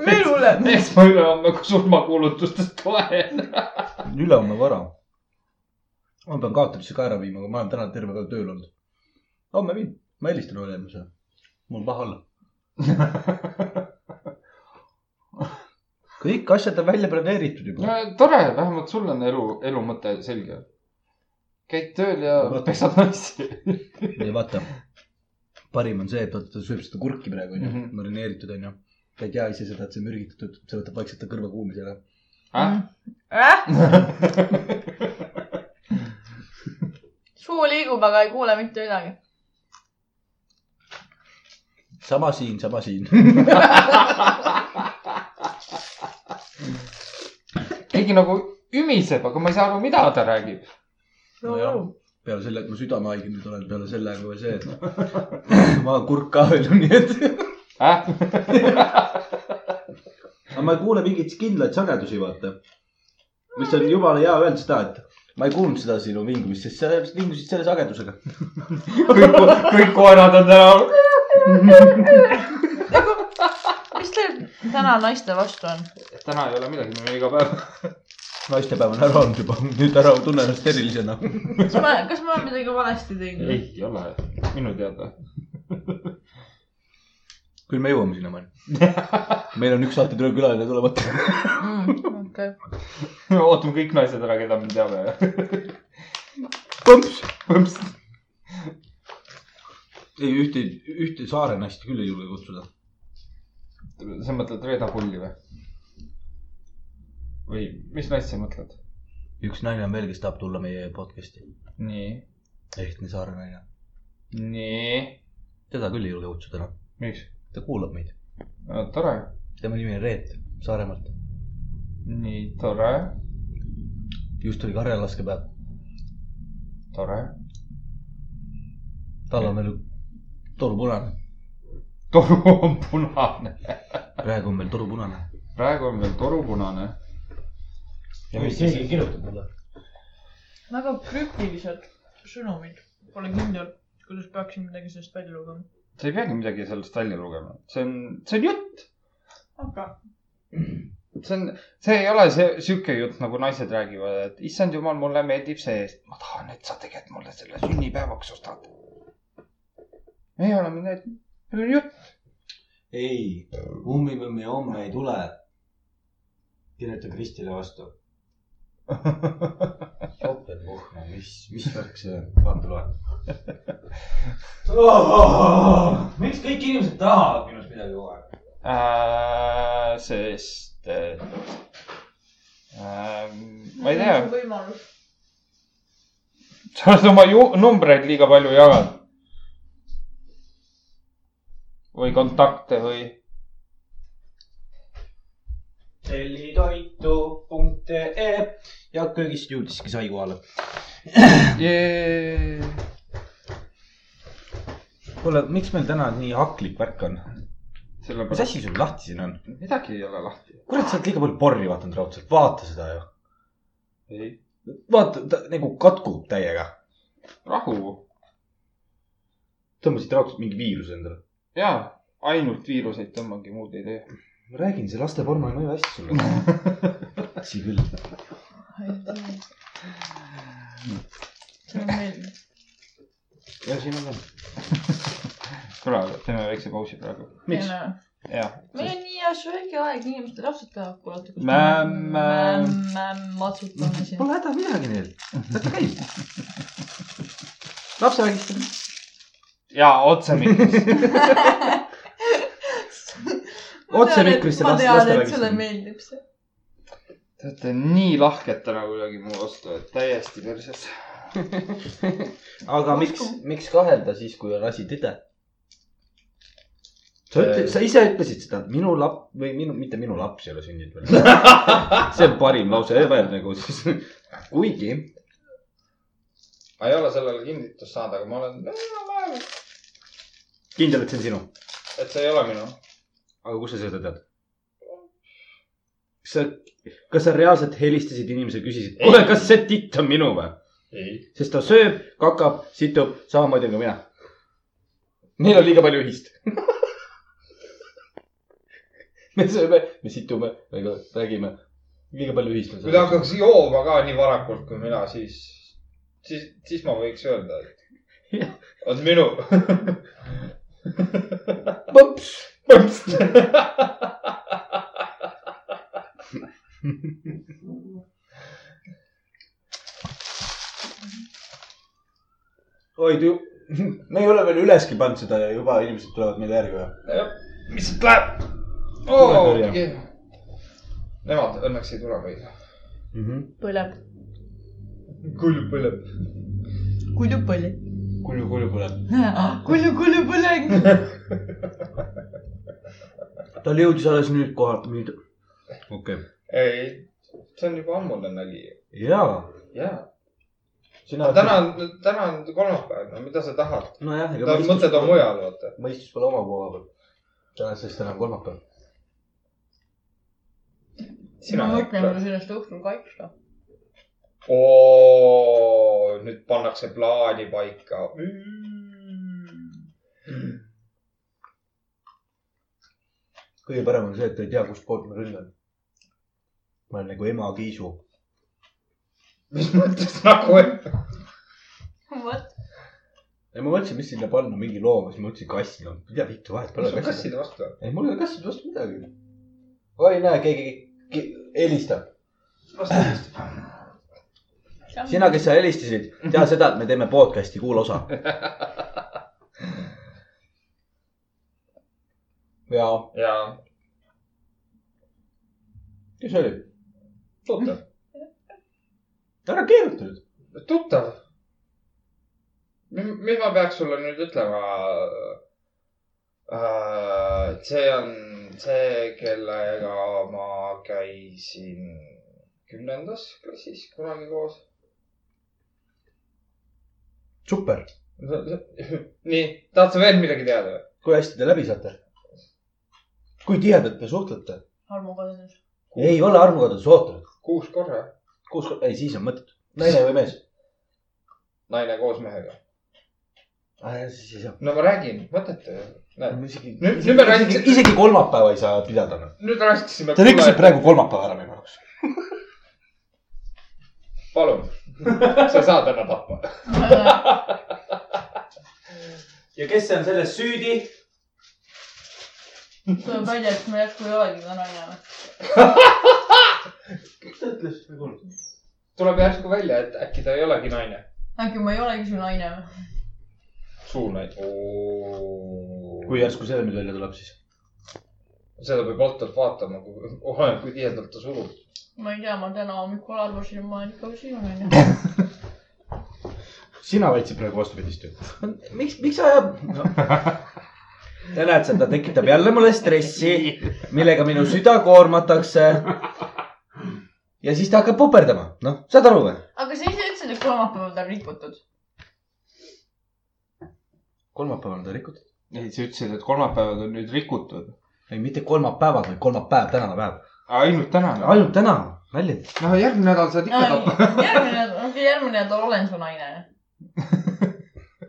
veel hullem .
eks ma ülehomme surmakuulutustest loen .
ülehomme vara . ma pean kaotamisse ka ära viima , aga ma olen täna terve päev tööl olnud . homme viin , ma helistan üle eelmisele . mul on paha olla . kõik asjad on välja planeeritud juba .
tore , vähemalt sul on elu , elu mõte selge . käid tööl ja
Vot.
pesad naisi .
ei vaata , parim on see , et vaata ta sööb seda kurki praegu onju
Mhm. ,
marineeritud onju . ta ei tea ise seda , et see on mürgitatud , see võtab vaikselt ta kõrva kuumisega .
Äh? suu liigub , aga ei kuule mitte midagi .
sama siin , sama siin .
keegi nagu ümiseb , aga ma ei saa aru , mida ta räägib .
Nojah. peale selle , et ma südamehaige nüüd olen , peale selle on kohe see , et ma olen kurk ka veel , nii et .
Äh?
aga ma ei kuule mingeid kindlaid sagedusi , vaata . mis on jumala hea öelda seda , et ma ei kuulnud seda sinu vingumist , sest sa vingusid selle sagedusega .
kõik , kõik koerad on täna .
mis teil täna naiste vastu on ?
täna ei ole midagi , meil on iga päev .
naistepäev on ära olnud juba , nüüd ära tunnen ennast erilisena .
kas ma , kas ma midagi valesti tegin ?
ei ole , minu teada .
küll me jõuame sinnamaani . meil on üks saatetöö külaline tulemata .
Mm, okei .
ootame kõik naised ära , keda me teame .
põmps .
põmps .
ei , ühte , ühte saare naist küll ei julge kutsuda .
sa mõtled Reeda Pulli või ? või mis naist sa mõtled ?
üks naine on veel , kes tahab tulla meie podcast'i .
nii ,
ehtne saare naine .
nii ,
teda küll ei julge kutsuda enam .
miks ?
ta kuulab meid .
tore ,
tema nimi on Reet Saaremaalt .
nii tore ,
just oli Karjala laskepäev .
tore .
tal on veel toru punane .
toru on punane ,
praegu on meil toru punane .
praegu on veel toru punane .
ja mis keegi kirjutab mulle .
väga krüptilised sõnumid . Pole kindel , kuidas peaksin midagi sellest välja lugema .
sa ei peagi midagi sellest välja lugema , see on , see on jutt ,
aga
see on , see ei ole see sihuke jutt , nagu naised räägivad , et issand jumal , mulle meeldib see , ma tahan , et sa tegelikult mulle selle sünnipäevaks ostad . ei ole midagi , see on jutt .
ei , ummipõmmi homme ei tule . kirjuta Kristile vastu . topeltpuhna , mis , mis värk see on , vaata loe . miks kõik inimesed tahavad minust midagi kogu aeg ?
Äh, sest äh, äh, ma ei tea ,
võimalus .
sa oled oma ju- numbreid liiga palju jaganud . või kontakte või ,
tellitoitu.ee ja köögist jõudiski sai kohale . kuule , miks meil täna nii haklik värk on ? mis
sellepärast
asi sul lahti siin on ?
midagi ei ole lahti .
kurat , sa oled liiga palju porri vaadanud raudselt , vaata seda ju .
ei ,
vaata , ta nagu katkub täiega .
rahu
tõmbasid raudselt mingi viiruse endale .
ja ainult viiruseid tõmbangi , muud ei tee .
ma räägin , see laste porno ei mõju hästi sulle . asi küll .
see on meeldiv .
ja siin on veel .
kuule , teeme väikse pausi praegu .
miks ?
jah ,
meil on nii hea söögiaeg , inimesed lapsed tahavad kuulata .
Mämm, mämm.
mämm , matsutame siin .
Pole häda midagi neil , las ta käib . lapsevägistamine .
ja otse mikrisse .
Otse mikrisse
ma
last-
tean ,
laste
et sulle
vägistamine.
meeldib see .
Te olete nii lahked täna kuidagi mu vastu , et täiesti perses .
aga miks , miks kahelda siis , kui on asi tõde ? Äh, sa ütled , sa ise ütlesid seda , minu lap- või minu , mitte minu laps ei ole sündinud veel . see on parim lause ever nagu siis . kuigi
ma ei ole sellele kinnitust saanud , aga ma olen enam-vähem ,
kindel , et see on sinu ,
et see ei ole minu .
aga kust sa seda tead ? kas sa , kas sa reaalselt helistasid inimesele , küsisid ,
Ei.
kuule , kas see titt on minu või ?
ei .
sest ta sööb , kakab , situb samamoodi nagu mina . meil on liiga palju ühist . me sööme , me situme , me räägime , liiga palju ühist on
kui ta . hakkaks jooma ka nii varakult kui mina , siis , siis , siis ma võiks öelda , et
Jah.
on minu .
põps , oi tu- , me ei ole veel üleski pannud seda ja juba inimesed tulevad meile järgi või ?
mis sealt läheb ?
Tuletõrje.
Nemad õnneks ei tule meile .
Mhm.
põleb .
kulju põleb .
kulju põli .
kulju , kulju põleb .
Ah. kulju , kulju põleng .
ta jõudis alles nüüd kohale , nüüd . okei okay. .
ei , see on juba ammune nali .
jaa .
jaa .
sina
täna . on , täna on kolmapäev , no mida sa tahad ?
nojah ,
ta mõtled on . mujal , vaata .
mõistus pole oma koha peal . tänasest enam kolmapäev .
ma mõtlen , kuidas ennast õhtul noh. kaitsta .
oo , nüüd pannakse plaani paika .
kõige parem on see , et ta ei tea , kustpoolt ma ründan . ma olen nagu ema kiisu .
mis mõttes nagu , et
vot .
ei , ma mõtlesin , mis sinna panna , mingi loo , siis ma mõtlesin kassi , no mida vittu vahet
mis
pole
sul . kasside vastu on ?
ei , mul ei ole kasside vastu midagi . oi , näe , keegi ke, helistab .
vastu helistab .
sina , kes sa helistasid , tea seda , et me teeme podcast'i kuula osa . ja
jaa .
kes see oli ?
tuttav .
ära keeruta nüüd .
tuttav . mis ma peaks sulle nüüd ütlema äh, ? see on see , kellega ma käisin kümnendas klassis kunagi koos .
super ,
nii , tahad sa veel midagi teada või ?
kui hästi te läbi saate ? kui tihedalt te suhtlete ?
Armo kodus .
ei ole armukodus suhtlenud .
kuus korra
kuus , ei siis on mõttetu . naine või mees ?
naine koos mehega .
siis ei saa .
no ma räägin , mõttetu ju . näed ,
isegi ,
Nüüd- nüüd me räägime-
isegi kolmapäeva ei saa pidada . noh.
nüüd raskisime .
Te rikkusite praegu kolmapäeva ära minu jaoks .
palun , sa saad ära tappa .
ja kes on selles süüdi ?
tuleb välja , et me järsku ei olegi täna enam .
mis ta ütles ? ma ei kuulnud .
tuleb järsku välja , et äkki ta ei olegi naine .
äkki ma ei olegi su naine või ?
suu naine .
kui järsku see nüüd välja tuleb , siis .
seda peab altalt vaatama , kui , oleneb , kui tihedalt ta surub .
ma ei tea , ma täna hommikul arvasin , et ma olen ikka sinu naine .
sina väitsid praegu vastupidist ju . miks , miks sa ajab no. ? Te näete , ta tekitab jälle mulle stressi , millega minu süda koormatakse . ja siis ta hakkab puperdama , noh , saad aru või ?
aga sa ise ütlesid , et kolmapäeval ta on rikutud .
kolmapäeval ta rikud .
ei , sa ütlesid , et kolmapäevad on nüüd rikutud .
ei , mitte kolmapäevad , vaid kolmapäev , tänane päev .
ainult täna või ?
ainult täna , nalja .
no järgmine nädal saad ikka tappa .
järgmine nädal , okei , järgmine nädal olen su naine .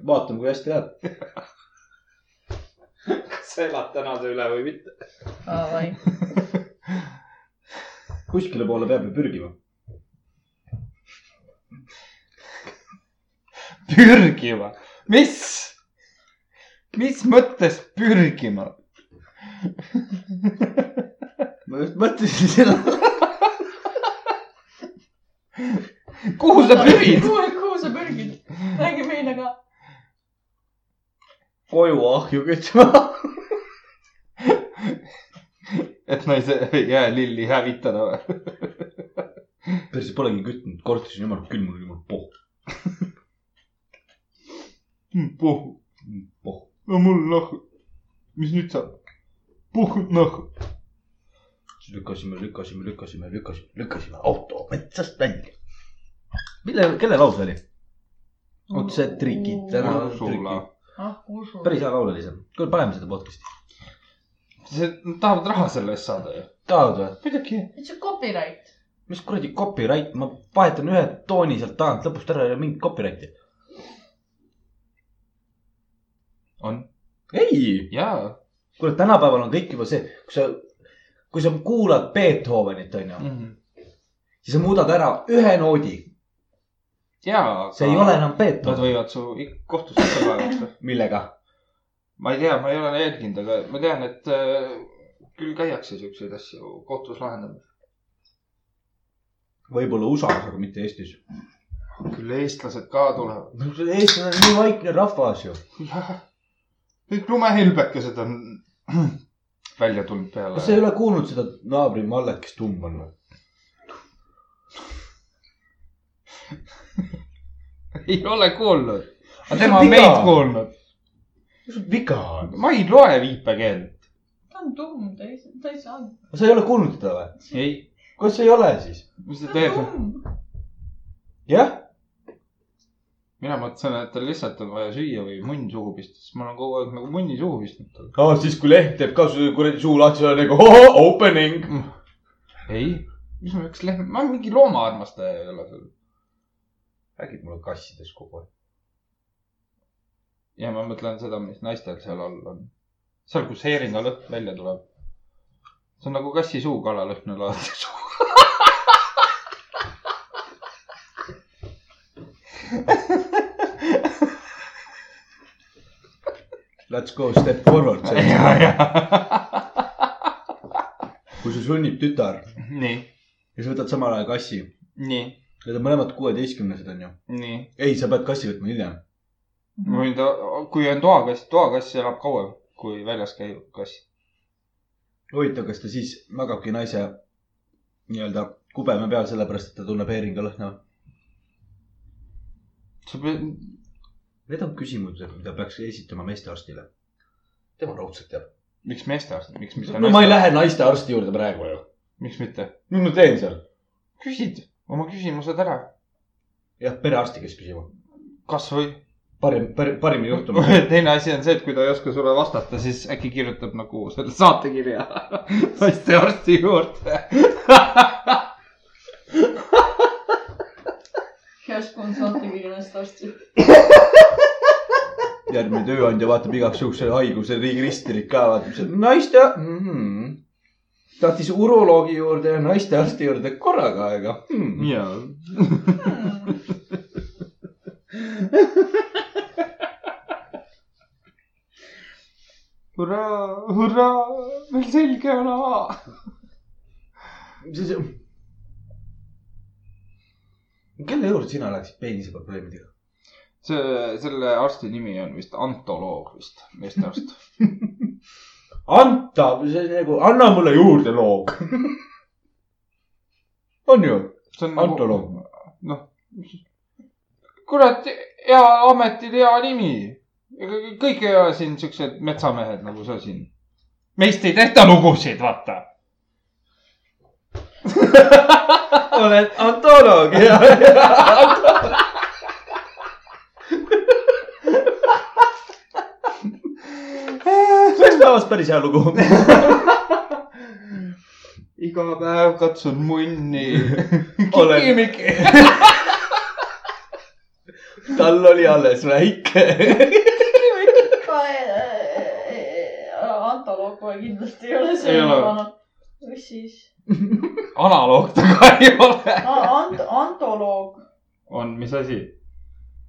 vaatame , kui hästi läheb .
kas sa elad tänase üle või mitte ?
Davai .
kuskile poole peab ju pürgima .
pürgima , mis , mis mõttes pürgima ?
ma just mõtlesin seda .
kuhu sa pürid ?
kuhu sa pürgid ? räägi meile ka .
koju ahju Oh, kütma .
et naise jäälilli hävitada või ?
päris polegi kütnud , korteris on jumal külm , mul on jumal pohh ,
Hmm, puh ,
pohh .
no mul noh , mis nüüd saab ? puh , noh .
siis lükkasime , lükkasime , lükkasime , lükkasime , lükkasime auto metsast välja . mille , kelle laul see oli ? oota , see Triki , täna on Triki .
ah , usu .
päris hea laul oli see . kuule , paneme seda podcast'i .
see , nad tahavad raha selle eest saada ju .
tahavad või ?
muidugi .
see on copyright .
mis kuradi copyright , ma vahetan ühe tooni sealt tagant lõpust ära ja mingit copyrighti .
on .
ei ,
jaa
kuule , tänapäeval on kõik juba see , kui sa , kui sa kuulad Beethovenit , onju ,
mm. .
siis sa muudad ära ühe noodi .
jaa .
see ei ole enam
Nad
Beethoven .
võivad su ik- kohtusse ka kaevata .
millega ?
ma ei tea , ma ei ole jälginud , aga ma tean , et äh, küll käiakse siukseid asju kohtus lahendamas .
võib-olla USA-s , aga mitte Eestis .
küll eestlased ka tulevad .
eestlased on nii vaikne rahvas ju .
kõik lumehelbekesed on välja tulnud peale
kas sa ei . ole kuulnud seda naabri Mallet , kes tumm on või ?
ei ole kuulnud . aga
Mis
tema
on
on
viga?
meid kuulnud .
mis sul viga on ?
ma ei loe viipekeelt .
ta on tumm , ta ei , ta ei saa .
sa ei ole kuulnud teda või ?
ei ,
kuidas sa ei ole siis ?
mis
ta
ta
on
teeb ?
tumm .
jah ,
mina mõtlesin , et tal lihtsalt on vaja süüa või munn suhu pista , sest ma olen kogu aeg nagu munni suhu pistnud talle .
aa siis kui lehm teeb ka su kuradi suu lahti , sa oled nagu ohoh , opening .
ei , mis ma peaks lehm , ma mingi loomaarmastaja ei ole seal .
räägid mulle kassidest kogu aeg .
ja ma mõtlen seda , mis naistel seal all on . seal , kus heeringa lõhn välja tuleb . see on nagu kassi suu kalalõhna laadne suu .
let's go step forward . kui su sunnib tütar
nii ,
ja sa võtad samal ajal kassi ,
nii ,
need on mõlemad kuueteistkümnesed onju .
nii .
ei , sa pead kassi võtma hiljem .
ma võin ta , kui on toakass , toakass elab kauem kui väljas käiv kass .
huvitav , kas ta siis magabki naise nii-öelda kubeme peal , sellepärast et ta tunneb heeringa lõhna .
sa pead ,
Need on küsimused , mida peaks esitama meestearstile . tema raudselt teab .
miks meestearst , miks mitte
no ma ei . lähe naistearsti juurde praegu ju .
miks mitte ?
mis ma teen seal ?
küsid oma küsimused ära ,
jah , perearsti käest küsima .
kasvõi .
parim , parim juhtum .
teine asi on see , et kui ta ei oska sulle vastata , siis äkki kirjutab nagu selle saatekirja naistearsti juurde .
keskkond saatekirja ennast arsti .
järgmine tööandja vaatab igaks juhuks selle haiguse riigiristilik ka , vaatab seal naiste mm . -hmm. tahtis uroloogi juurde ja naistearsti juurde korraga aega hmm. .
ja ,
Hmm.
hurraa , hurraa , meil selge on ala .
siis . kelle juurde sina läksid peenise probleemidega ?
see , selle arsti nimi on vist antoloog vist , meestearst .
Anta , see on nagu , anna mulle juurde loog . on ju ?
see on
Antoloog.
nagu , noh , kurat , hea ametil hea nimi . kõik ei ole siin siuksed metsamehed nagu sa siin . meist ei tehta lugusid , vaata .
oled antoloog ja . see oleks päevast päris hea lugu .
iga päev katsun munni .
Olen-
kikimiki .
tal oli alles väike .
antoloog kohe kindlasti ei ole
Ei
see
ole.
vana . mis siis ?
analoog ta ka ei ole .
Ant- , antoloog ,
on , mis asi ?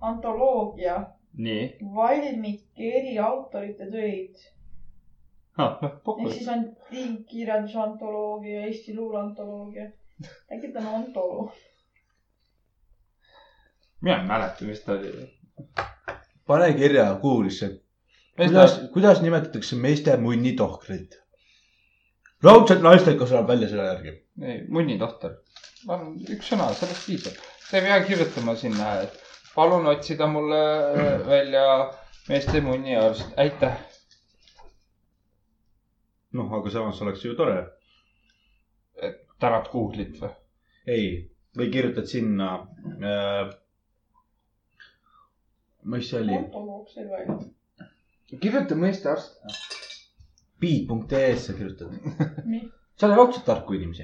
antoloogia
nii .
valmike eri autorite töid
Noh,
ehk siis on tiimkirjanduse antoloogia , Eesti luule antoloogia . äkki ta on antoloog ?
mina ei mäleta , mis ta oli .
pane kirja Google'isse , kuidas , kuidas nimetatakse meeste munnitohkrit ? raudselt naistekas läheb välja selle järgi .
ei , munnitohter . ma arvan , üks sõna , sellest piisab . sa ei pea kirjutama sinna , et palun otsida mulle äh, välja meeste munniarst , aitäh .
noh , aga samas oleks ju tore .
tänad Google'it või ?
ei , või kirjutad sinna äh, . mis see oli ?
antoloog sai välja .
kirjuta mõistearst .
piip.ee-sse E kirjutad .
nii .
seal on raudselt tarku inimesi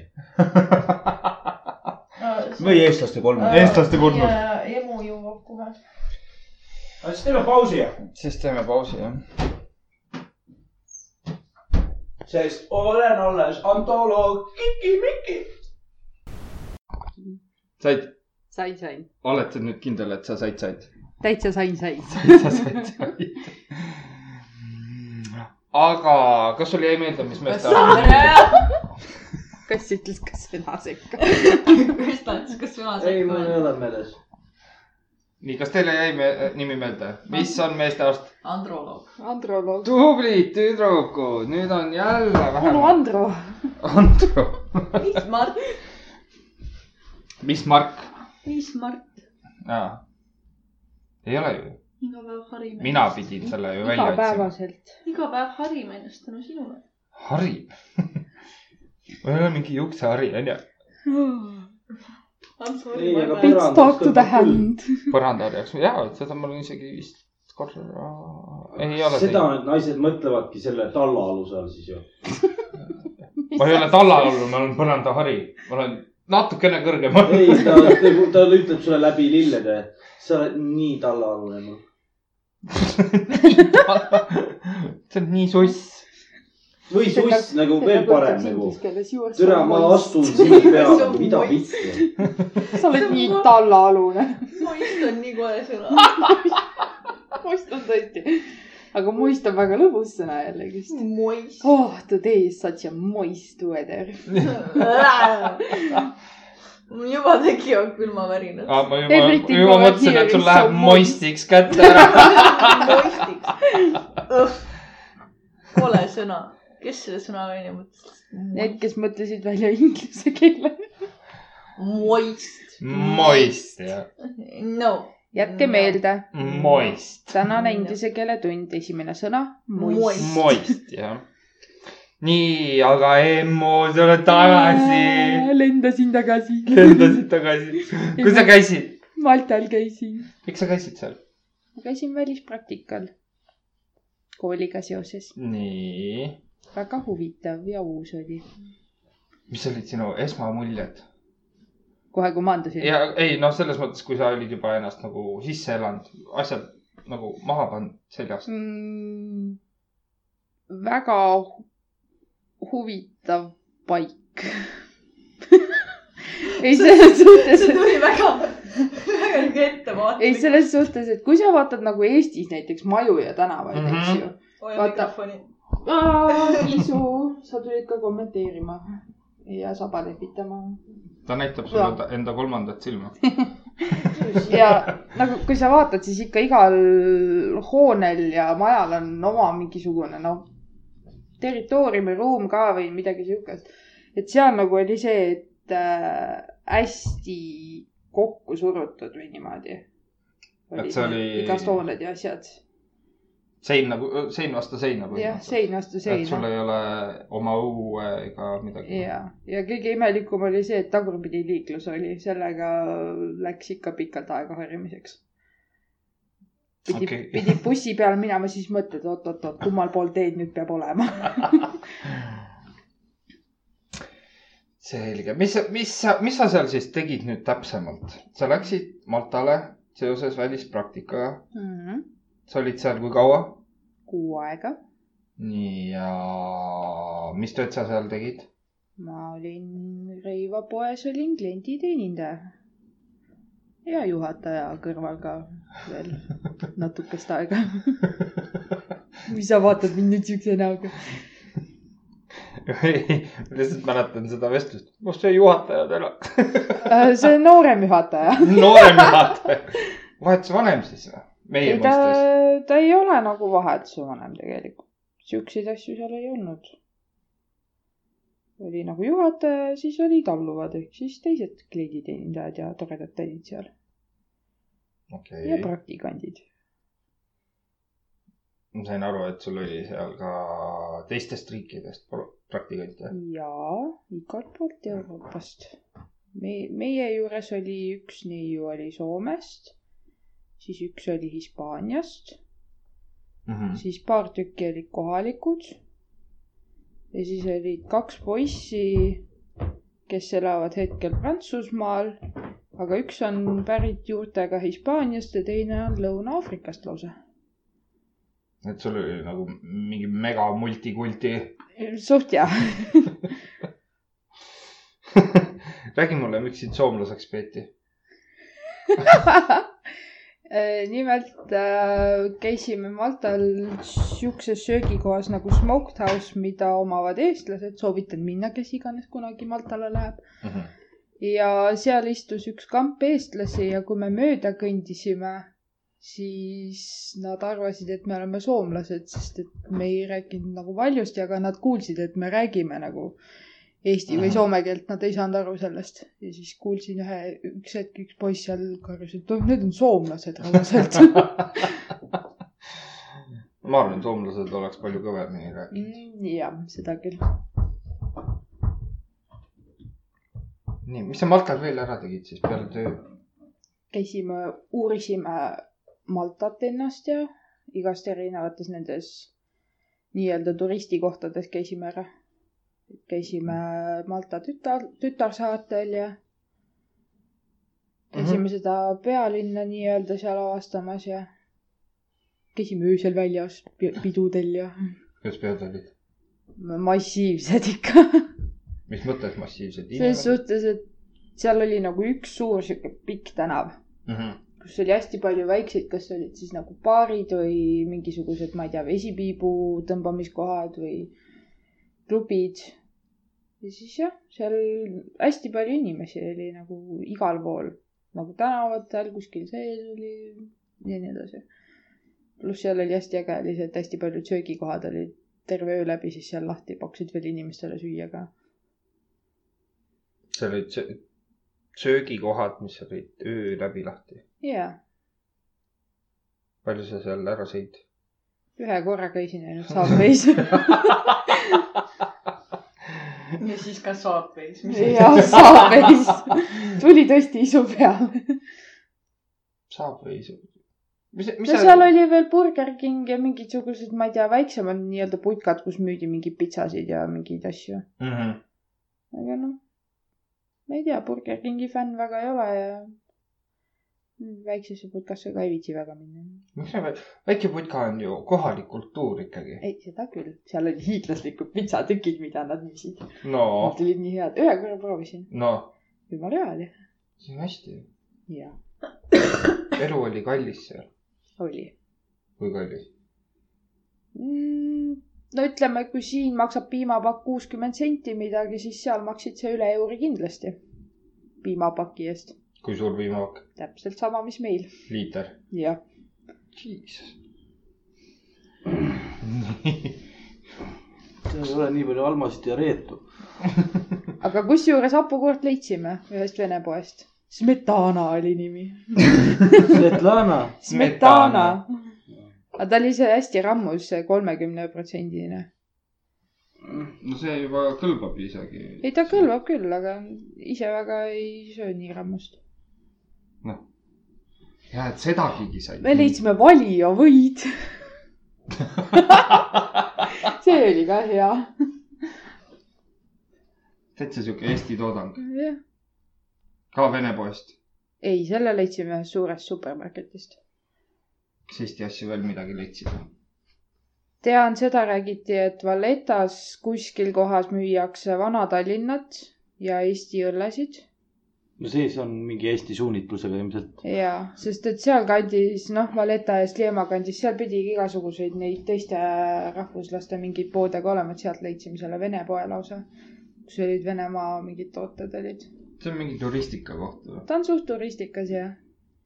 või eestlaste
Äh,
kolmanda .
Eestlaste kolmas. .
emu jõuab kohe .
aga siis teeme pausi ,
siis teeme pausi , jah .
sest olen alles antoloog .
said ,
sain , sain ,
oled sa nüüd kindel , et sa said , said ?
täitsa sain , sain .
sa said , said . aga kas sul jäi meelde , mis meestearst ?
kass ütles ka sõna sekka .
mis ta ütles , kas sõna
ei , mul ei ole meeles .
nii , kas teile jäi me äh, nimi meelde , mis on meestearst ?
androloog .
Androloog .
tublid tüdrukud , nüüd on jälle
onu
vähemalt .
Andro .
Andro .
mis Mart ?
mis Mark ?
mis Mart ?
jaa . ei ole ju ,
iga päev harime .
mina . pidin selle ju välja otsima .
igapäevaselt .
iga päev harime ennast tänu sinule .
hari . mul ei ole mingi juuksehari onju ,
I m
Ei,
sorry ,
aga
ma ei
pera-
mäleta .
Let's talk to the hand .
põrandaharjaks , jaa , seda mul on isegi vist korra , ei ole
seda
teinud .
need naised mõtlevadki selle talla aluse all siis ju .
ma ei ole tallal olnud , ma olen põrandahari , ma olen natukene kõrgemal .
ei , ta , ta ütleb sulle läbi lillede , sa oled nii nagu. tallaalune mul .
see on nii suss .
või suss nagu veel parem nagu . türa ,
türa
ma . astun sinu peale , mida vitsi .
sa oled nii tallaalune .
ma istun nii kohe sõna .
ma istun tõesti . aga moist on väga lõbus sõna jällegist .
moist .
oh , today is such a moist weather .
mul juba tekivad külmavärinad .
ma juba
Everything
juba
over
mõtlesin ,
here
et sul
is
läheb
so moist.
moistiks kätte ära .
moistiks . kole sõna . kes selle sõna välja mõtles
Need ,? kes mõtlesid välja inglise keele .
moist .
moist , jah .
no .
jätke meelde ,
moist .
tänane inglise keele tund , esimene sõna moist .
moist , jah . nii , aga Emmu , sa oled tagasi .
lendasin tagasi .
lendasid tagasi . kus sa käisid ?
Maltal käisin .
miks sa käisid seal ?
ma käisin välispraktikal kooliga seoses .
nii .
väga huvitav ja uus oli .
mis olid sinu esmamuljed ?
kohe kui maandusin .
ja ei noh , selles mõttes , kui sa olid juba ennast nagu sisse elanud , asjad nagu maha pannud seljast .
mm, väga hu- huvitav paik . ei , selles suhtes ,
see tuli väga , väga nihuke ettevaatlik .
ei selles suhtes , et kui sa vaatad nagu Eestis näiteks maju ja tänavaid mm ,
Mhm.
-hmm. eks ju .
hoia
vaata-
mikrofoni .
Isu , sa tulid ka kommenteerima ja saba lepitama .
ta näitab
Jaa.
sulle ta- enda kolmandat silma .
ja nagu , kui sa vaatad , siis ikka igal hoonel ja majal on oma mingisugune noh , territooriumi ruum ka või midagi siukest . et seal nagu oli see , et äh, hästi kokku surutud või niimoodi .
Et see oli-
igast hooned ja asjad .
sein nagu , sein vastu seina
jah , sein vastu
et sul
seina .
ei ole oma õue ega midagi .
ja , ja kõige imelikum oli see , et tagurpidi liiklus oli , sellega läks ikka pikalt aega harjumiseks . pidi
Okei.
okay. , pidi bussi peal minema , siis mõtled , oot-oot-oot , kummal pool teed nüüd peab olema .
selge , mis , mis , mis sa seal siis tegid nüüd täpsemalt ? sa läksid Maltale seoses välispraktikaga , sa olid seal kui kaua ?
kuu aega
nii ja mis tööd sa seal tegid ?
ma olin Reiva poes , olin klienditeenindaja . ja juhataja kõrval ka veel natukest aega . mis sa vaatad mind nüüd siukse näoga ?
lihtsalt mäletan seda vestlust , kus see juhataja täna ,
Äh, see on noorem juhataja .
noorem juhataja , vahetus vanem siis või ? meie
ei , ta
mõistes ,,
ta ei ole nagu vahetuse vanem tegelikult . Siukseid asju seal ei olnud . oli nagu juhataja ja siis olid alluvad ehk siis teised klienditeenindajad ja toredad tädid seal ja
okei ,
praktikandid .
ma sain aru , et sul oli seal ka teistest riikidest pro- praktikante .
ja igalt poolt Euroopast . me , meie juures oli üks neiu oli Soomest , siis üks oli Hispaaniast ,
Mhm.
siis paar tükki olid kohalikud . ja siis olid kaks poissi , kes elavad hetkel Prantsusmaal , aga üks on pärit juurtega Hispaaniast ja teine on Lõuna-Aafrikast lausa .
et sul oli nagu mingi mega multikulti .
suht jah .
räägi mulle , miks sind soomlaseks peeti ?
nimelt äh, käisime Maltal siukses söögikohas nagu Smoked House , mida omavad eestlased , soovitan minna , kes iganes kunagi Maltale läheb . ja seal istus üks kamp eestlasi ja kui me mööda kõndisime , siis nad arvasid , et me oleme soomlased , sest et me ei rääkinud nagu valjusti , aga nad kuulsid , et me räägime nagu eesti või
Ahah.
soome keelt , nad ei saanud aru sellest . ja siis kuulsin ühe , üks hetk üks poiss seal karjus , et "Oh, need on soomlased raudselt
ma arvan , et soomlased oleks palju kõvemini rääkinud .
jah , seda küll . Mm.
nii , mis sa Maltal veel ära tegid siis peale töö ?
käisime , uurisime Maltat ennast ja igast erinevates nendes nii-öelda turistikohtades käisime ära . käisime Malta tütar , tütarsaartel ja käisime mm -hmm. seda pealinna nii-öelda seal avastamas ja käisime öösel väljas pi- pidudel ja
kuidas peod olid ?
massiivsed ikka
mis mõttes massiivsed
selles ? suhtes , et seal oli nagu üks suur sihuke pikk tänav
Mm -hmm.
kus oli hästi palju väikseid , kas olid siis nagu baarid või mingisugused , ma ei tea , vesipiibu tõmbamiskohad või klubid . ja siis jah , seal hästi palju inimesi oli nagu igal pool , nagu tänavatel , kuskil sees oli ja nii edasi . pluss seal oli hästi äge oli see , et hästi paljud söögikohad olid terve öö läbi siis seal lahti , pakkusid veel inimestele süüa ka .
seal olid sö- söögikohad , mis olid öö läbi lahti .
jaa ,
palju sa seal ära sõid ?
ühe korra käisin ainult Subway's .
ja siis ka Subway's , mis ei
jah , Subway's . tuli tõesti isu peale .
saab või ? mis , mis
no seal oli veel Burger King ja mingisugused , ma ei tea , väiksemad nii-öelda putkad , kus müüdi mingeid pitsasid ja mingeid asju .
mm ?
Mhm.
-hmm.
aga noh , ma ei tea , Burger Kingi fänn väga ei ole ja väiksesse putkasse ka ei viitsi väga minna .
miks me , väike putka on ju kohalik kultuur ikkagi .
ei , seda küll , seal olid hiiglaslikud pitsatükid , mida nad müüsid .
no
Nad , olid nii head , ühe korra proovisin ,
no ,
jumala hea oli .
see on hästi .
jaa ,
elu oli kallis seal ,
oli
kui kallis ?
mm, . no ütleme , kui siin maksab piimapakk kuuskümmend senti midagi , siis seal maksid sa üle euri kindlasti piimapaki eest .
kui suur piimapakk ?
täpselt sama , mis meil .
liiter .
jah ,
Jesus .
seal ei ole nii palju almasid ja reetu .
aga kusjuures hapukoort leidsime ühest vene poest . Smetana oli nimi .
Svetlana ,
Smetana . aga ta oli see hästi rammus , see kolmekümne protsendine .
no see juba kõlbab isegi .
ei , ta . kõlbab küll , aga ise väga ei söö nii rammust .
ja , et sedagigi sai .
me . leidsime valija võid . see oli ka hea
täitsa sihuke Eesti toodang ,
jah ,
ka Vene poest .
ei , selle leidsime ühest suurest supermarketist .
kas Eesti asju veel midagi leidsid ?
tean , seda räägiti , et Valletas kuskil kohas müüakse Vana-Tallinnat ja Eesti õllesid
no sees on mingi Eesti suunitlusega ilmselt .
ja , sest et sealkandis , noh , Valletta ja Sliema kandis , seal pidigi igasuguseid neid teiste rahvuslaste mingeid poode ka olema , et sealt leidsime selle Vene poe lausa , kus olid Venemaa mingid tooted olid .
see on mingi turistika koht või ?
ta on suht turistikas ja ,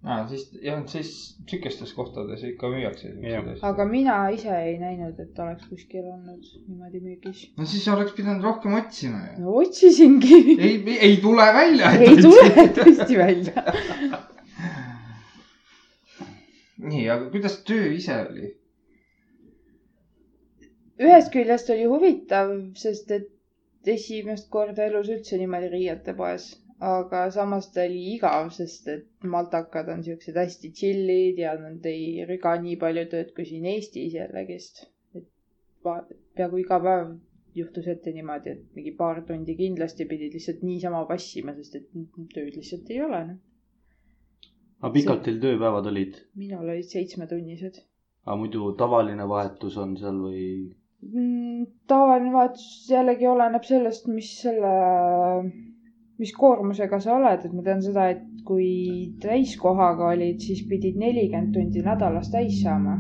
aa , siis jah , siis sihukestes kohtades ikka müüakse siukseid asju .
aga mina ise ei näinud , et oleks kuskil olnud niimoodi müügis .
no siis oleks pidanud rohkem otsima ju .
no otsisingi .
ei , ei tule välja .
ei tule . tõesti välja .
nii , aga kuidas töö ise oli ?
ühest küljest oli huvitav , sest et esimest korda elus üldse niimoodi riiete poes , aga samas ta oli igav , sest et maltakad on siuksed hästi chill'id ja nad ei rüga nii palju tööd kui siin Eestis jällegist . et va- peaaegu iga päev juhtus ette niimoodi , et mingi paar tundi kindlasti pidid lihtsalt niisama vassima , sest et tööd lihtsalt ei ole . noh.
aga pikalt teil tööpäevad olid ?
minul olid seitsmetunnised
aga muidu tavaline vahetus on seal või ?
Mm, tavaline vahetus jällegi oleneb sellest , mis selle , mis koormusega sa oled , et ma tean seda , et kui täiskohaga olid , siis pidid nelikümmend tundi nädalas täis saama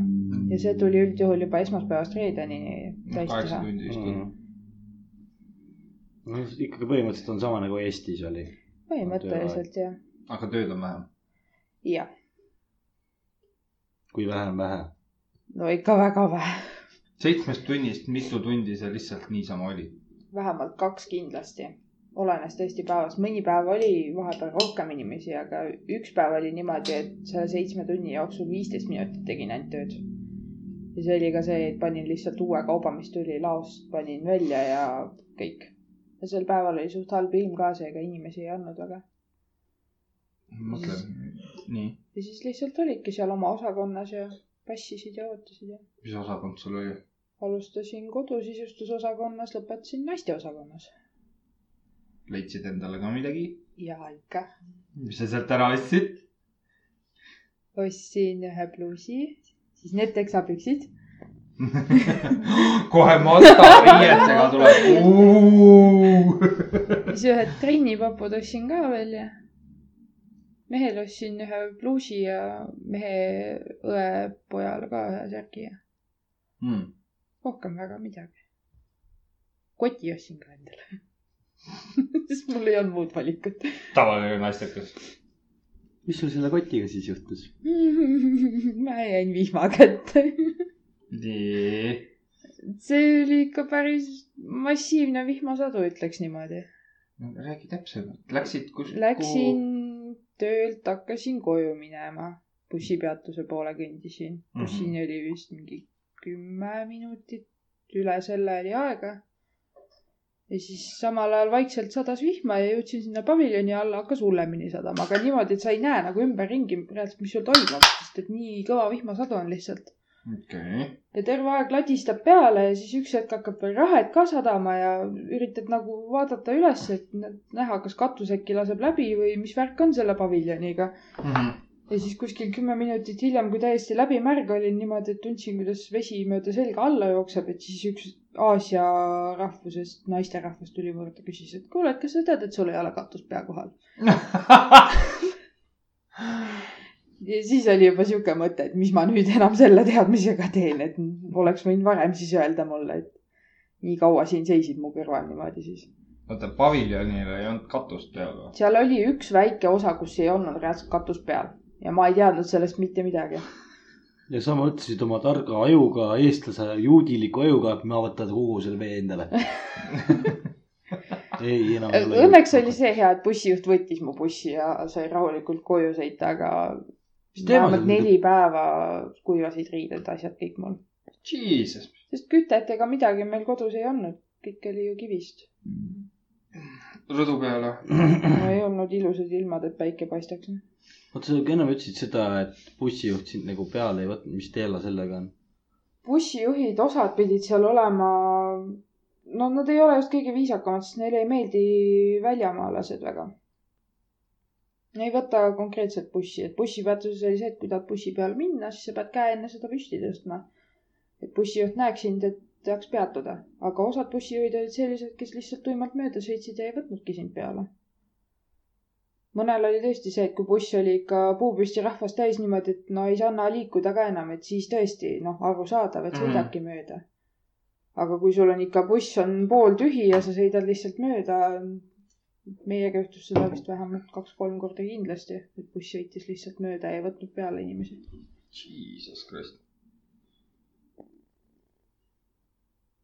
ja see tuli üldjuhul juba esmaspäevast reedeni täis
kaheksa
teha .
tundi vist oli .
no Mm. ikkagi põhimõtteliselt on sama nagu Eestis oli .
põhimõtteliselt jah ,
aga tööd on vähem .
jah ,
kui vähe on vähe .
no ikka väga vähe ,
seitsmest tunnist mitu tundi see lihtsalt niisama oli ?
vähemalt kaks kindlasti olenes tõesti päevast , mõni päev oli vahepeal rohkem inimesi , aga üks päev oli niimoodi , et selle seitsme tunni jooksul viisteist minutit tegin ainult tööd . ja see oli ka see , et panin lihtsalt uue kauba , mis tuli laost , panin välja ja kõik . ja sel päeval oli suht halb ilm ka , seega inimesi ei olnud väga .
mõtle , nii ,
ja siis lihtsalt olidki seal oma osakonnas ja passisid ja ootasid ja
mis osakond sul oli ?
alustasin kodusisustusosakonnas , lõpetasin naisteosakonnas .
leidsid endale ka midagi ,
ja ikka
mis sa sealt ära ostsid ?
ostsin ühe pluusi , siis need teksapüksid .
kohe Mazda riietega tuleb .
siis ühed trennipapud ostsin ka veel ja mehele ostsin ühe pluusi ja mehe õepojale ka ühe särgi ja
mm. .
rohkem väga midagi . koti ostsin ka endale . sest mul ei olnud muud valikut .
tavaline naistekas .
mis sul selle kotiga siis juhtus ?
ma jäin vihma kätte .
nii .
see oli ikka päris massiivne vihmasadu , ütleks niimoodi .
räägi täpsemalt , läksid kus ?
Läksin töölt , hakkasin koju minema , bussipeatuse poole kõndisin ,
Mhm.
bussini oli vist mingi kümme minutit , üle selle oli aega . ja siis samal ajal vaikselt sadas vihma ja jõudsin sinna paviljoni alla , hakkas hullemini sadama , aga niimoodi , et sa ei näe nagu ümberringi reaalselt , mis sul toimub , sest et nii kõva vihmasadu on lihtsalt .
okei okay. ,
ja terve aeg ladistab peale ja siis üks hetk hakkab veel rahet ka sadama ja üritad nagu vaadata üles , et nä- näha , kas katus äkki laseb läbi või mis värk on selle paviljoniga .
mm . -hmm.
ja siis kuskil kümme minutit hiljem , kui täiesti läbi märg olin , niimoodi , et tundsin , kuidas vesi mööda selga alla jookseb , et siis üks Aasia rahvusest naisterahvas tuli mu juurde , küsis , et kuule , et kas sa tead , et sul ei ole katus pea kohal ? ja siis oli juba sihuke mõte , et mis ma nüüd enam selle teadmisega teen , et oleks võinud varem siis öelda mulle , et nii kaua siin seisid mu kõrval niimoodi siis .
oota , paviljonil ei olnud katust peal või ?
seal oli üks väike osa , kus ei olnud reaalselt katus peal ja ma ei teadnud sellest mitte midagi .
ja sa mõtlesid oma targa ajuga , eestlase juudiliku ajuga , et ma võtan kogu selle vee endale . ei , enam ei ole .
Õnneks oli . see hea , et bussijuht võttis mu bussi ja sai rahulikult koju sõita , aga
Mis teema
vähemalt
sul nüüd-
neli päeva kuivasid riided , asjad kõik mul .
Jesus .
sest kütet ega midagi meil kodus ei olnud , kõik oli ju kivist .
rõdu peal või ?
no ei olnud ilusad ilmad , et päike paistaks
oota , sa ennem ütlesid seda , et bussijuht sind nagu peale ei võtnud , mis teela sellega on ?
bussijuhid , osad pidid seal olema , no nad ei ole just kõige viisakamad , sest neile ei meeldi väljamaalased väga . ei võta konkreetselt bussi , et bussipeatuses oli see , et kui tahad bussi peale minna , siis sa pead käe enne seda püsti tõstma . et bussijuht näeks sind , et tahaks peatuda , aga osad bussijuhid olid sellised , kes lihtsalt tuimalt mööda sõitsid ja ei võtnudki sind peale . mõnel oli tõesti see , et kui buss oli ikka puupüsti rahvast täis niimoodi , et no ei saa anna liikuda ka enam , et siis tõesti noh , arusaadav , et
Mhm.
sõidabki mööda . aga kui sul on ikka buss on pooltühi ja sa sõidad lihtsalt mööda , meiega juhtus seda vist vähemalt kaks-kolm korda kindlasti , et buss sõitis lihtsalt mööda ja ei võtnud peale inimesi .
Jesus Christ .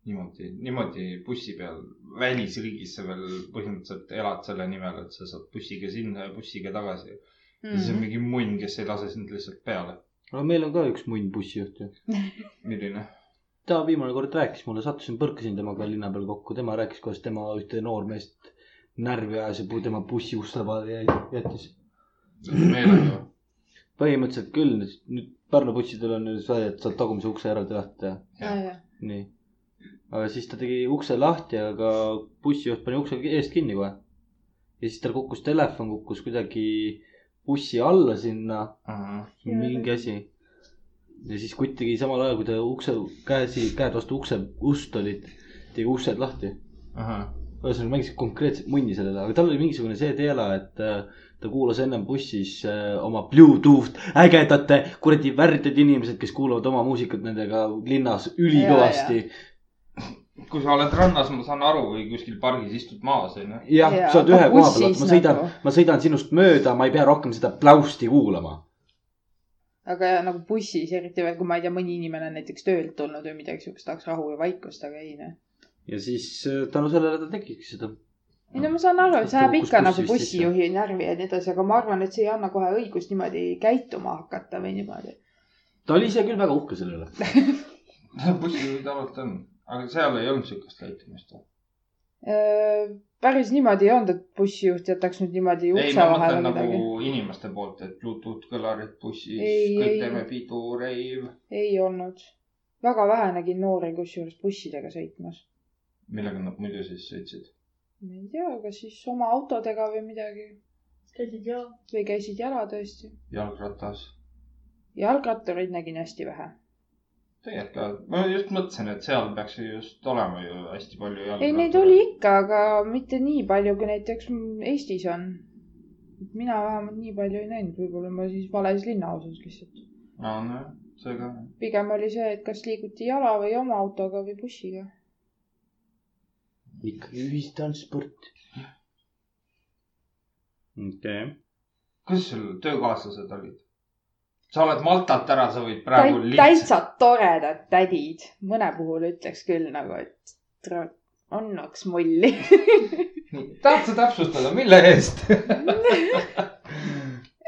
niimoodi , niimoodi bussi peal , välisriigis sa veel põhimõtteliselt elad selle nimel , et sa saad bussiga sinna ja bussiga tagasi mm .
Mhm.
ja
Mhm.
siis on mingi munn , kes ei lase sind lihtsalt peale .
aga meil on ka üks munn bussijuht ju .
milline ?
ta viimane kord rääkis mulle , sattusin , põrkasin temaga linna peal kokku , tema rääkis , kuidas tema ühte noormeest närvi ajas ja pu- tema bussi uste peale jä- jättis .
meelega .
põhimõtteliselt küll , nüüd Pärnu bussidel on ju see , et saad tagumise ukse eraldi lahti teha ,
jajah .
nii . aga siis ta tegi ukse lahti , aga bussijuht pani ukse eest kinni kohe . ja siis tal kukkus telefon , kukkus kuidagi bussi alla sinna , mingi asi . ja siis kutt tegi samal ajal , kui ta ukse , käsi , käed vastu ukse , ust olid , tegi uksed lahti ühesõnaga mängisid konkreetselt munni sellele , aga tal oli mingisugune see teela , et äh, ta kuulas ennem bussis äh, oma Bluetooth ägedate kuradi värdjad inimesed , kes kuulavad oma muusikat nendega linnas ülikõvasti .
kui sa oled rannas , ma saan aru , või kuskil pargis istud maas , onju .
jah
Jaa,
ja, , sa oled
aga
ühe koha peal ,
bussis
ma sõidan
nagu.
nagu... , ma sõidan sinust mööda , ma ei pea rohkem seda pläusti kuulama .
aga ja, nagu bussis , eriti veel , kui ma ei tea , mõni inimene on näiteks töölt tulnud või midagi siukest , tahaks rahu ja vaikust , aga ei noh .
ja siis äh, tänu sellele ta tegigi seda .
ei no ma saan aru , et see ajab
Kus
ikka
bussi
nagu
vist
bussijuhi närvi ja nii edasi , aga ma arvan , et see ei anna kohe õigust niimoodi käituma hakata või niimoodi .
ta oli ise küll väga uhke selle üle .
bussijuhid alati on , aga seal ei olnud siukest käitumist .
päris niimoodi ei olnud , et bussijuht jätaks nüüd niimoodi
ei ,
ukse
ma
vahele
mõtlen nagu
midagi .
inimeste poolt , et Bluetooth kõlarid bussis ,
Ei,
kõik
ei.
teeme pidu , reiv .
ei olnud . väga vähe nägin noori kusjuures bussidega sõitmas .
millega nad muidu siis sõitsid ?
ma ei tea , kas siis oma autodega või midagi
käisid ja .
või käisid jala tõesti .
jalgratas ?
jalgrattureid nägin hästi vähe .
tegelikult ka , ma just mõtlesin , et seal peaks ju just olema ju hästi palju jalgrattaid .
ei , neid oli . ikka , aga mitte nii palju , kui näiteks m- Eestis on . mina vähemalt nii palju ei näinud , võib-olla ma siis vales linnaosas lihtsalt .
aa , nojah , see ka .
pigem oli see , et kas liiguti jala või oma autoga või bussiga .
ikkagi ühistransport . okei .
kuidas sul töökaaslased olid ? sa oled Maltalt ära , sa võid praegu lihtsalt .
täitsa toredad tädid , mõne puhul ütleks küll nagu , et tra- annaks mulli .
tahad sa täpsustada , mille eest ?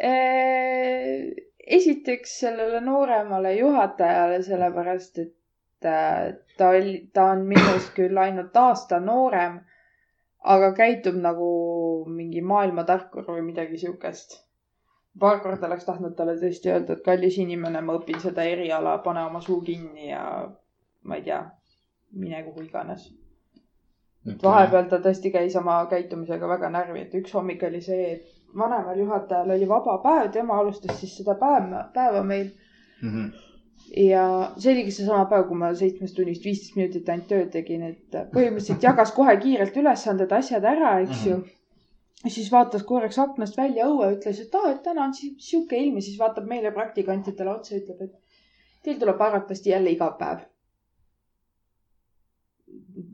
Äh, esiteks sellele nooremale juhatajale , sellepärast et äh, ta oli , ta on minust küll ainult aasta noorem , aga käitub nagu mingi maailmatarkur või midagi siukest . paar korda oleks tahtnud talle tõesti öelda , et kallis inimene , ma õpin seda eriala , pane oma suu kinni ja ma ei tea , mine kuhu iganes . vahepeal ta tõesti käis oma käitumisega väga närvi , et üks hommik oli see , et vanemal juhatajal oli vaba päev , tema alustas siis seda päeva , päeva meil
Mhm.
ja see oligi seesama päev , kui ma seitsmest tunnist viisteist minutit ainult tööd tegin , et põhimõtteliselt jagas kohe kiirelt ülesanded , asjad ära , eks ju . siis vaatas korraks aknast välja õue , ütles , et aa , et täna on si- sihuke ilm ja siis vaatab meile praktikantidele otsa , ütleb , et teil tuleb arvatavasti jälle iga päev .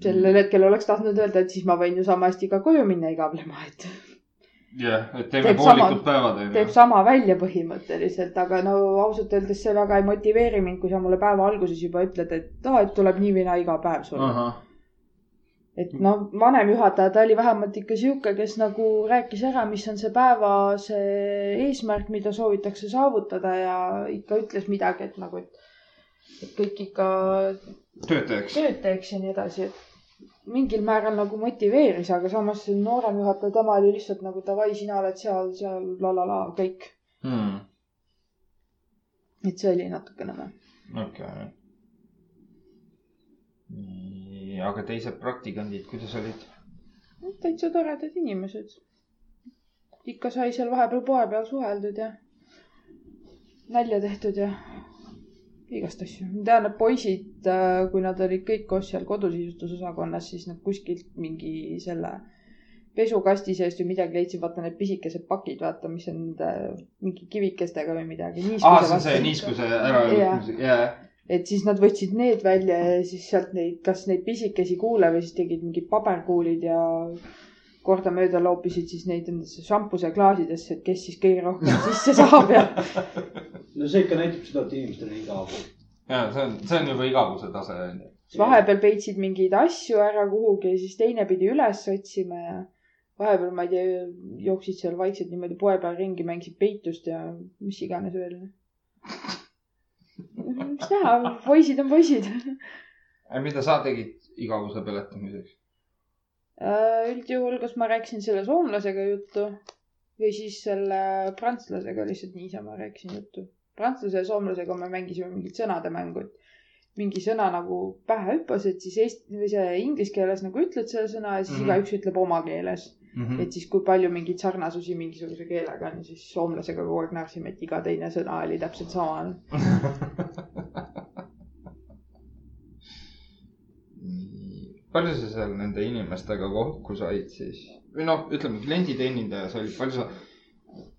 sellel hetkel oleks tahtnud öelda , et siis ma võin ju sama hästi ka koju minna igablema , et
jah , et teeme
Teeb
poolikud
sama-
päevad ,
teeb
onju .
sama välja põhimõtteliselt , aga no ausalt öeldes see väga ei motiveeri mind , kui sa mulle päeva alguses juba ütled , et aa , et tuleb nii või naa iga päev sul . et noh , vanem juhataja , ta oli vähemalt ikka sihuke , kes nagu rääkis ära , mis on see päeva see eesmärk , mida soovitakse saavutada ja ikka ütles midagi , et nagu , et et kõik ikka
töötajaks .
tööd teeks ja nii edasi , et mingil määral nagu motiveeris , aga samas see noorem juhataja , tema oli lihtsalt nagu davai , sina oled seal , seal la la la kõik .
Hmm.
et see oli natuke nõme .
okei . nii , aga teised praktikandid , kuidas olid ?
täitsa toredad inimesed . ikka sai seal vahepeal poe peal suheldud ja nalja tehtud ja igast asju . ma tean , et poisid , kui nad olid kõik koos seal kodusisustusosakonnas , siis nad kuskilt mingi selle pesukasti seest või midagi leidsid , vaata need pisikesed pakid , vaata , mis on nende mingi kivikestega või midagi .
aa , see on see niiskuse äravõtmise , jajah .
et siis nad võtsid need välja ja siis sealt neid , kas neid pisikesi kuule või siis tegid mingid paberkuulid ja kordamööda loopisid siis neid endasse šampuseklaasidesse , et kes siis kõige rohkem sisse saab ja
no see ikka näitab seda , et inimestel on igav .
ja see on , see on juba igavuse tase onju .
siis vahepeal peitsid mingeid asju ära kuhugi ja siis teine pidi üles otsima ja vahepeal , ma ei tea , jooksid seal vaikselt niimoodi poe peal ringi , mängisid peitust ja mis iganes veel . mis teha , poisid on poisid .
mida sa tegid igavuse peletamiseks ?
üldjuhul , kas Äh, ma rääkisin selle soomlasega juttu või siis selle prantslasega lihtsalt niisama rääkisin juttu . prantsuse ja soomlasega me mängisime mingit sõnademängu , et mingi sõna nagu pähe hüppas , et siis eesti või see inglise keeles nagu ütled selle sõna ja siis mm
Mhm.
-hmm. igaüks ütleb oma keeles . et siis , kui palju mingeid sarnasusi mingisuguse keelega on , siis soomlasega kogu aeg naersime , et iga teine sõna oli täpselt sama .
palju sa seal nende inimestega kokku said siis ? või noh , ütleme klienditeenindaja , sa olid , palju sa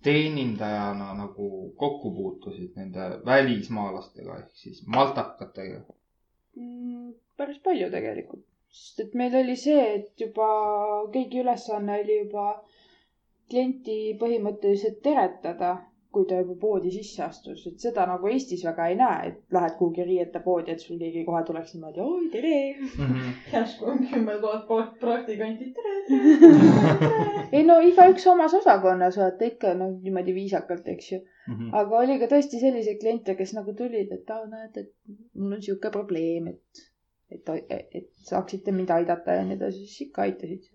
teenindajana nagu kokku puutusid nende välismaalastega ehk siis maltakatega ?
Mm, päris palju tegelikult , sest et meil oli see , et juba kõigi ülesanne oli juba klienti põhimõtteliselt teretada , kui ta juba poodi sisse astus , et seda nagu Eestis väga ei näe , et lähed kuhugi riiete poodi , et sul keegi kohe tuleks niimoodi oi tere .
järsku on kümme tuhat poolt praktikanti , tere .
ei no igaüks omas osakonnas vaata ikka noh , niimoodi viisakalt , eks ju . aga oli ka tõesti selliseid kliente , kes nagu tulid , et aa , näed , et mul on sihuke probleem , et , et , et saaksite mind aidata ja nii edasi , siis ikka aitasid .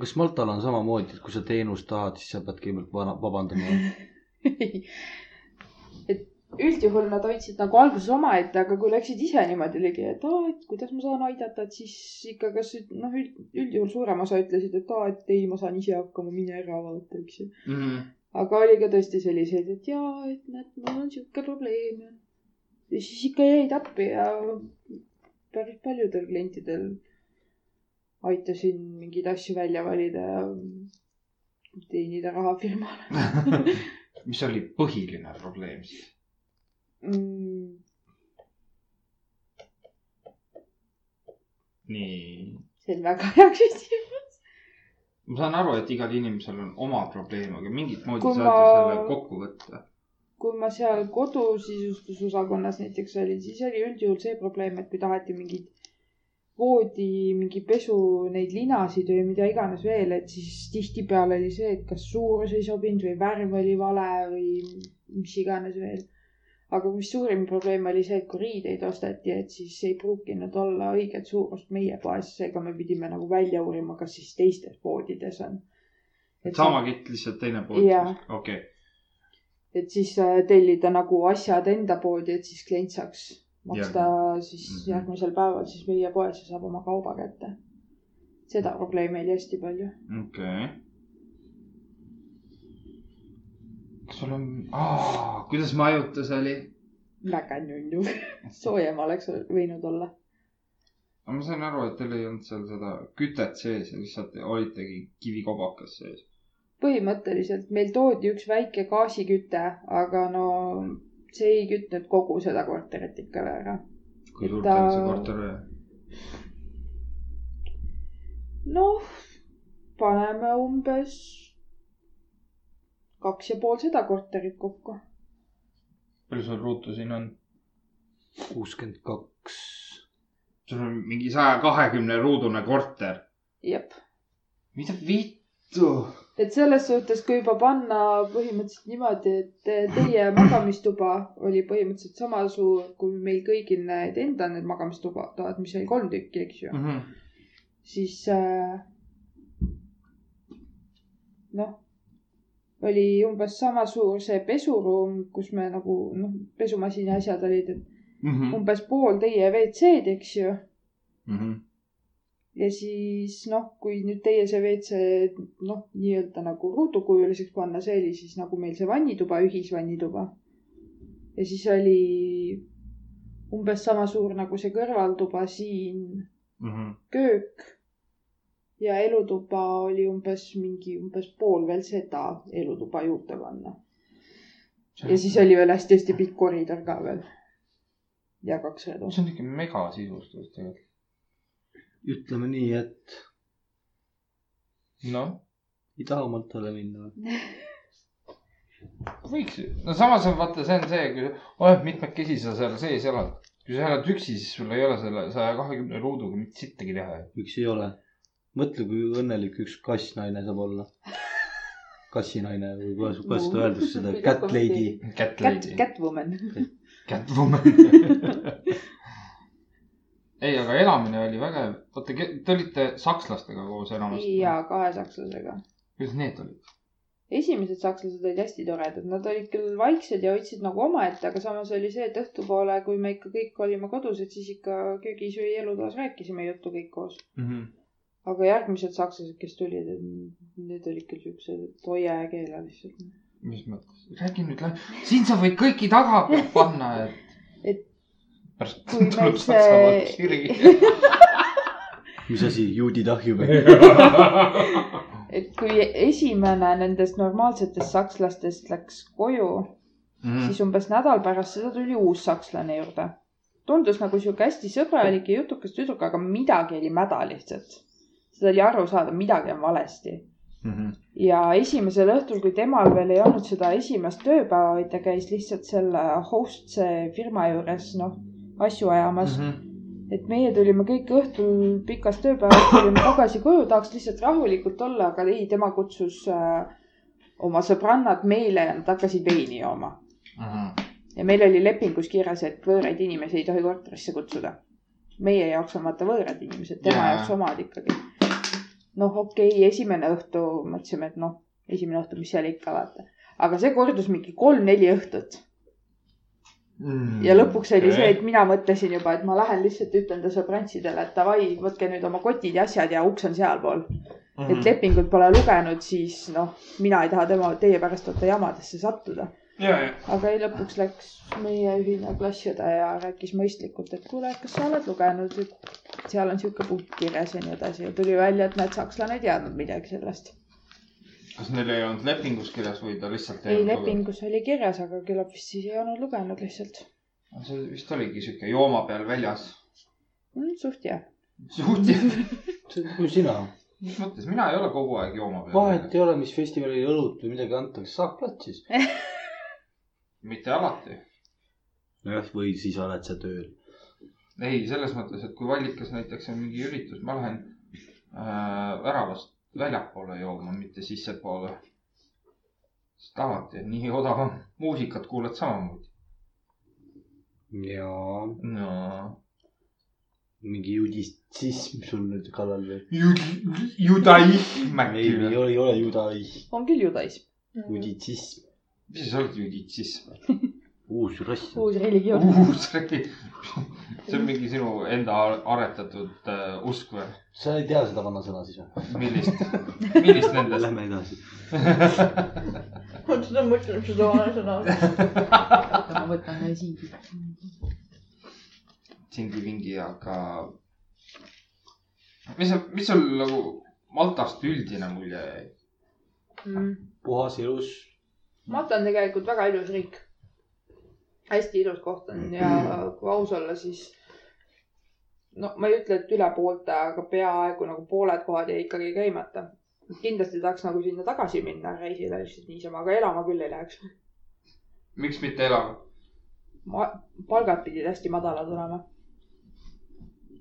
kas Maltal on samamoodi , et kui sa teenust tahad , siis sa pead kõigepealt vana- vabandama ?
et üldjuhul nad hoidsid nagu alguses omaette , aga kui läksid ise niimoodi ligi , et aa , et kuidas ma saan aidata , et siis ikka kas üt- noh , üldjuhul suurem osa ütlesid , et aa , et ei , ma saan ise hakkama , mine ära vaata , eks ju .
Mhm.
aga oli ka tõesti selliseid , et jaa , et näed , mul on sihuke probleem ja . ja siis ikka jäid appi ja päris paljudel klientidel aitasin mingeid asju välja valida ja teenida raha firmale
mis oli põhiline probleem siis ?
mm, .
nii .
see on väga hea küsimus .
ma saan aru , et igal inimesel on oma probleem , aga mingit moodi
Kui
saad ju
ma-
selle kokku võtta .
kui ma seal kodusisustusosakonnas näiteks olin , siis oli üldjuhul see probleem , et kui taheti mingit voodi , mingi pesu , neid linasid või mida iganes veel , et siis tihtipeale oli see , et kas suurus ei sobinud või värv oli vale või mis iganes veel . aga mis suurim probleem oli see , et kui riideid osteti , et siis ei pruukinud olla õiget suurust meie poes , seega me pidime nagu välja uurima , kas siis teistes poodides on .
et sama kitt lihtsalt teine pood
Jaa. ,
okei .
et siis äh, tellida nagu asjad enda poodi , et siis klient saaks maksta ja. siis
Mhm.
järgmisel päeval siis meie poes ja saab oma kauba kätte . seda probleemi oli hästi palju .
okei . kas sul on , kuidas majutus oli ?
väga nunnu , soojem oleks võinud olla .
ma sain aru , et teil ei olnud seal seda kütet sees ja lihtsalt olitegi kivikobakas sees .
põhimõtteliselt meil toodi üks väike gaasiküte , aga no see ei kütnud kogu seda korterit ikka veel ära .
kui suur
Ta-
teil see korter oli ?
noh , paneme umbes kaks ja pool seda korterit kokku .
palju sul ruutu siin on ?
kuuskümmend kaks .
sul on mingi saja kahekümne ruudune korter .
jep .
mida vittu ?
et selles suhtes , kui juba panna põhimõtteliselt niimoodi , et teie magamistuba oli põhimõtteliselt sama suur kui meil kõigil need enda need magamistuba , mis oli kolm tükki , eks ju ,
Mhm.
siis äh, noh , oli umbes sama suur see pesuruum , kus me nagu noh , pesumasin ja asjad olid , et
Mhm.
umbes pool teie WC-d , eks ju . ja siis noh , kui nüüd teie see WC noh , nii-öelda nagu ruudukujuliseks panna , see oli siis nagu meil see vannituba , ühisvannituba . ja siis oli umbes sama suur nagu see kõrvaltuba siin , köök ja elutuba oli umbes mingi umbes pool veel seda elutuba juurde panna . ja siis oli veel hästi-hästi pikk koridor ka veel . ja kaks redu .
see on ikka megasisustus tegelikult .
ütleme nii , et
noh ,
ei taha Maltale minna .
võiks ju . no samas on vaata , see on see , kui oled mitmekesi , sa seal sees elad . kui sa elad üksi , siis sul ei ole selle saja kahekümne ruuduga mitte sittagi teha ju .
miks ei ole ? mõtle , kui õnnelik üks kassnaine saab olla . kassinaine või kuidas , kuidas seda öeldakse , seda cat lady .
kätt
Cat ,
leidi .
Catwoman .
kätt vumel . ei , aga elamine oli vägev . oota , te olite sakslastega koos enamasti ?
ja kahe sakslasega .
kuidas need olid ?
esimesed sakslased olid hästi toredad , nad olid küll vaiksed ja hoidsid nagu omaette , aga samas oli see , et õhtupoole , kui me ikka kõik olime kodus , et siis ikka köögis või elutoas rääkisime juttu kõik koos .
Mhm,
aga järgmised sakslased , kes tulid , need olid küll siuksed , et hoia ja keela lihtsalt .
mis mõttes ? räägi nüüd , siin sa võid kõiki taga panna , et .
Et
pärast
kui
tuleb
meil
Saksamaalt
see-
kirgi .
mis asi , juudid ahju või ?
et kui esimene nendest normaalsetest sakslastest läks koju ,
Mm. Mhm.
siis umbes nädal pärast seda tuli uus sakslane juurde . tundus nagu sihuke hästi sõbralik ja jutukas tüdruk , aga midagi oli mäda lihtsalt . seda oli aru saada , midagi on valesti .
mhm,
ja esimesel õhtul , kui temal veel ei olnud seda esimest tööpäeva , vaid ta käis lihtsalt selle host'e firma juures , noh , asju ajamas
Mhm.
mhm.
mm , -hmm. et meie tulime kõik õhtul pikast tööpäevast , tulime tagasi koju , tahaks lihtsalt rahulikult olla , aga ei , tema kutsus äh, oma sõbrannad meile ja nad hakkasid veini jooma ja meil oli lepingus kirjas , et võõraid inimesi ei tohi korterisse kutsuda . meie jaoks on vaata võõrad inimesed , tema
Jaa.
yeah. jaoks omad ikkagi . noh , okei okay, , esimene õhtu mõtlesime , et noh , esimene õhtu , mis seal ikka vaata , aga see kordus mingi kolm-neli õhtut
Mhm. Mm,
ja lõpuks oli see , et mina mõtlesin juba , et ma lähen lihtsalt ütlen ta sõbrantsidele , et davai , võtke nüüd oma kotid ja asjad ja uks on sealpool .
Mhm.
et
Mm.
lepingut pole lugenud , siis noh , mina ei taha tema , teie pärast vaata jamadesse sattuda .
ja , ja .
aga ei , lõpuks läks meie ühine klassiõdetaja rääkis mõistlikult , et kuule , kas sa oled lugenud , et seal on sihuke punkt kirjas ja nii edasi ja tuli välja , et näed , sakslane ei teadnud midagi sellest .
kas neil ei olnud lepingus kirjas või ta lihtsalt
ei , lepingus oli kirjas , aga küllap vist siis ei olnud lugenud lihtsalt .
lugenud? Ah, see vist oligi sihuke jooma peal väljas .
Mm, suht jah .
suht jah ,
kui sina ,
mis mõttes , mina ei ole kogu aeg jooma peal
vahet . ei ole , mis festivalil õlut või midagi antakse , saab platsis .
mitte alati .
nojah , või siis oled sa tööl .
ei , selles mõttes , et kui valikas näiteks on mingi üritus , ma lähen äh, väravast väljapoole jooma , mitte sissepoole . sest alati on nii odavam , muusikat kuulad samamoodi .
jaa ,
no .
mingi judistism sul nüüd kallal või ?
judaism
ei ,
äkki
ei
või ?
ole , ei ole judaism ,
on küll judaism .
judistism ,
mis sa oled juditsism ?
uus rass .
uus religioon .
uus äkki . see on mingi sinu enda aretatud äh, usk või ?
sa ei tea seda vanasõna siis või ?
millist , millist nendest ?
Lähme edasi .
oota , ta mõtleb seda vanasõna .
ma võtan ühe siin .
singi-vingi , aga mis , mis sul nagu Maltast üldine mulje jäi ?
Mm.
puhas , ilus ,
Malta on tegelikult väga ilus riik . hästi ilus koht on ja kui aus olla , siis no ma ei ütle , et üle poolte , aga peaaegu nagu pooled kohad jäi ikkagi käimata . kindlasti tahaks nagu sinna tagasi minna reisile lihtsalt niisama , aga elama küll ei läheks .
miks mitte elama ?
ma , palgad pidid hästi madalad olema .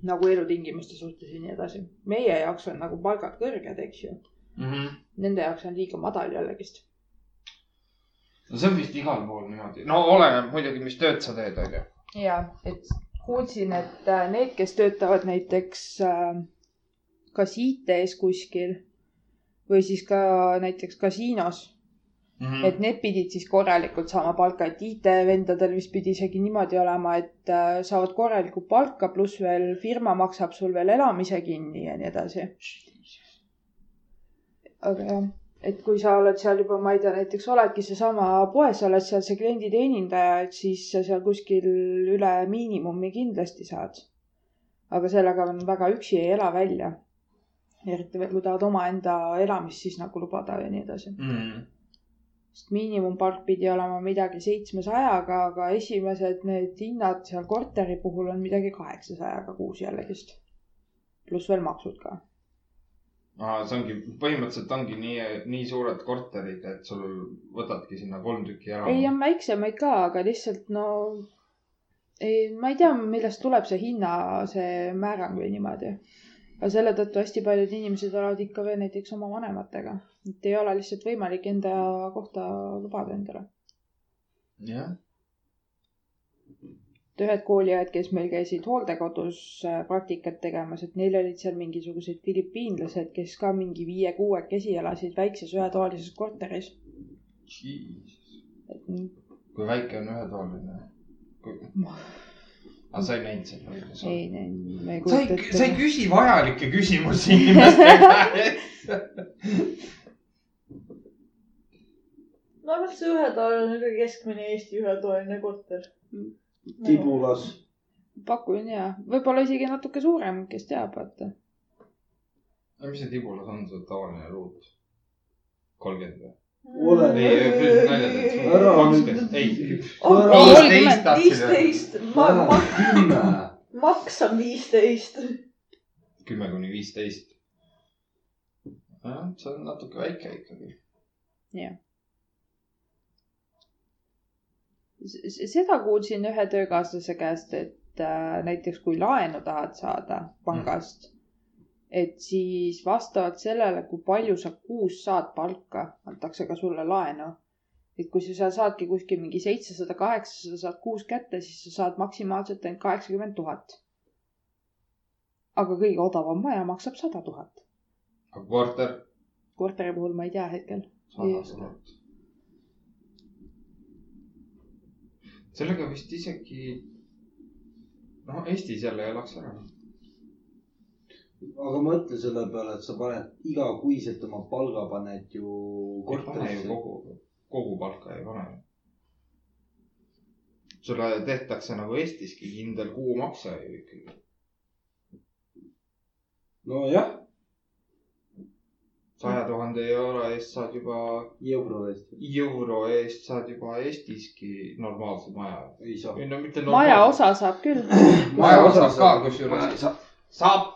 nagu elutingimuste suhtes ja nii edasi . meie jaoks on nagu palgad kõrged , eks ju .
mm . -hmm.
Nende jaoks on liiga madal jällegist .
no see on vist igal pool niimoodi . no oleneb muidugi , mis tööd sa teed , onju .
ja , et kuulsin , et äh, need , kes töötavad näiteks äh, kas IT-s kuskil või siis ka näiteks kasiinos ,
Mhm.
et need pidid siis korralikult saama palka , et IT-vendadel vist pidi isegi niimoodi olema , et äh, saavad korralikku palka , pluss veel firma maksab sul veel elamise kinni ja nii edasi . aga jah , et kui sa oled seal juba , ma ei tea , näiteks oledki seesama poes , oled seal see klienditeenindaja , et siis sa seal kuskil üle miinimumi kindlasti saad . aga sellega on väga üksi ei ela välja . eriti veel , kui tahad omaenda elamist siis nagu lubada ja nii edasi . sest miinimumpalk pidi olema midagi seitsmesajaga , aga esimesed need hinnad seal korteri puhul on midagi kaheksasajaga kuus jällegist . pluss veel maksud ka .
see ongi , põhimõtteliselt ongi nii , nii suured korterid , et sul võtadki sinna kolm tükki ära .
ei , on väiksemaid ka , aga lihtsalt no ei , ma ei tea , millest tuleb see hinna , see määrang või niimoodi . aga selle tõttu hästi paljud inimesed elavad ikka veel näiteks oma vanematega , et ei ole lihtsalt võimalik enda kohta lubada endale .
jah .
et ühed kooliajad , kes meil käisid hooldekodus äh, praktikat tegemas , et neil olid seal mingisugused filipiinlased , kes ka mingi viie-kuuekesi elasid väikses ühetoalises korteris . et mm,
kui väike on ühetoaline kui... ? aga sa ei näinud seda
ei , ei , ma ei
sa
kujuta
ei , sa ei
ette .
küsi vajalikke küsimusi inimeste käest .
ma arvan , et see ühetoaline on ka keskmine Eesti ühetoaline korter .
tibulas .
pakun ja , võib-olla isegi natuke suurem , kes teab , vaata .
mis see tibulas on , see tavaline ruut ? kolmkümmend või ?
Ole
ei , ei , naljatäitsa .
Ära nüüd-
kaksteist , ei ,
Ära
ei ,
nüüd-
viisteist tahtsin öelda .
viisteist , ma , ma ,
kümme .
maks on viisteist .
kümme kuni viisteist . jah , see on natuke väike ikkagi .
seda kuulsin ühe töökaaslase käest , et äh, näiteks kui laenu tahad saada pangast , et siis vastavalt sellele , kui palju sa kuus saad palka , antakse ka sulle laenu . et kui sa seal saadki kuskil mingi seitsesada , kaheksasada saad kuus kätte , siis sa saad maksimaalselt ainult kaheksakümmend tuhat . aga kõige odavam maja maksab sada tuhat .
aga korter ?
korteri puhul ma ei tea hetkel . Just.
sellega vist isegi , noh , Eestis jälle elaks ära .
aga mõtle selle peale , et sa paned igakuiselt oma palga paned ju
ei pane ju
korterisse .
kogu , kogu palka ei pane . sulle tehtakse nagu Eestiski kindel kuumakse ju ikkagi .
nojah ,
saja tuhande euro eest saad juba ,
euro eest .
euro eest saad juba Eestiski normaalse maja .
ei saa .
ei no mitte
maja . osa saab küll .
maja osas ka kusjuures saab .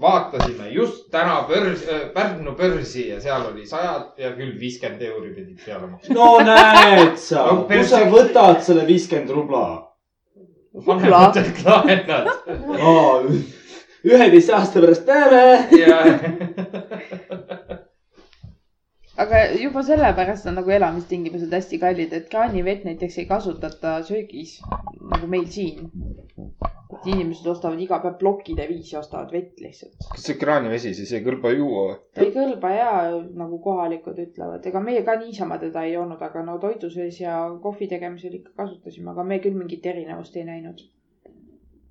vaatasime just täna börs , Pärnu börsi ja seal oli sajad ja küll viiskümmend euri pidid peale maksma .
no näed sa
No
kus
perse-
sa võtad selle viiskümmend rubla ?
vanematelt laenad .
üheteist aasta pärast näeme .
aga juba sellepärast on nagu elamistingimused hästi kallid , et kraanivett näiteks ei kasutata söögis nagu meil siin . et inimesed ostavad iga päev plokkide viisi , ostavad vett lihtsalt .
kas see kraanivesi siis ei kõlba juua või ?
ta ei kõlba ja nagu kohalikud ütlevad , ega meie ka niisama teda ei joonud , aga no toidu sees ja kohvi tegemisel ikka kasutasime , aga me küll mingit erinevust ei näinud .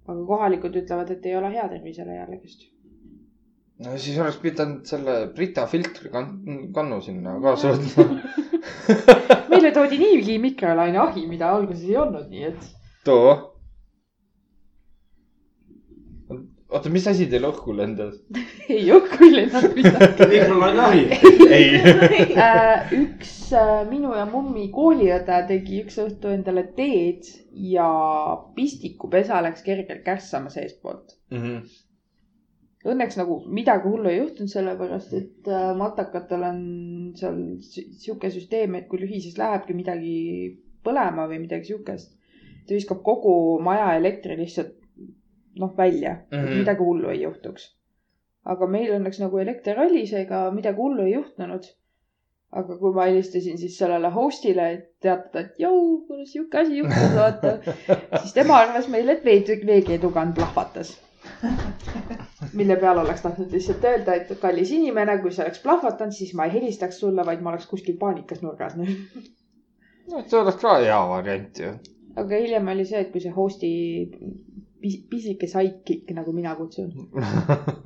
aga kohalikud ütlevad , et ei ole hea tervisele jällegist .
no siis oleks pidanud selle Brita filtri kan- , kannu sinna kaasa võtma .
meile toodi niigi mikrolaineahi , mida alguses ei olnud , nii et
too . oota , mis asi teil õhku lendas ?
ei õhku ei lennanud midagi .
mikrolaineahi .
ei .
Äh, üks äh, minu ja mummi kooliõde tegi üks õhtu endale teed ja pistikupesa läks kergelt kärssama seestpoolt .
Mhm.
Õnneks nagu midagi hullu ei juhtunud , sellepärast et äh, matakatel on seal si- sihuke süsteem , et kui lühi , siis lähebki midagi põlema või midagi siukest . ta viskab kogu maja elektri lihtsalt noh , välja mm , -hmm.
Mhm.
midagi hullu ei juhtuks . aga meil õnneks nagu elekter oli , seega midagi hullu ei juhtunud . aga kui ma helistasin siis sellele host'ile , et teatada , et jõu , kuidas sihuke asi juhtus , vaata , siis tema arvas meile , et veed- veekeedugan plahvatas . mille peale oleks tahtnud lihtsalt öelda , et kallis inimene , kui see oleks plahvatanud , siis ma ei helistaks sulle , vaid ma oleks kuskil paanikas nurgas noh. nüüd .
no see oleks ka hea variant ju .
aga hiljem oli see , et kui see host'i pis- pisike sidekick , nagu mina kutsun ,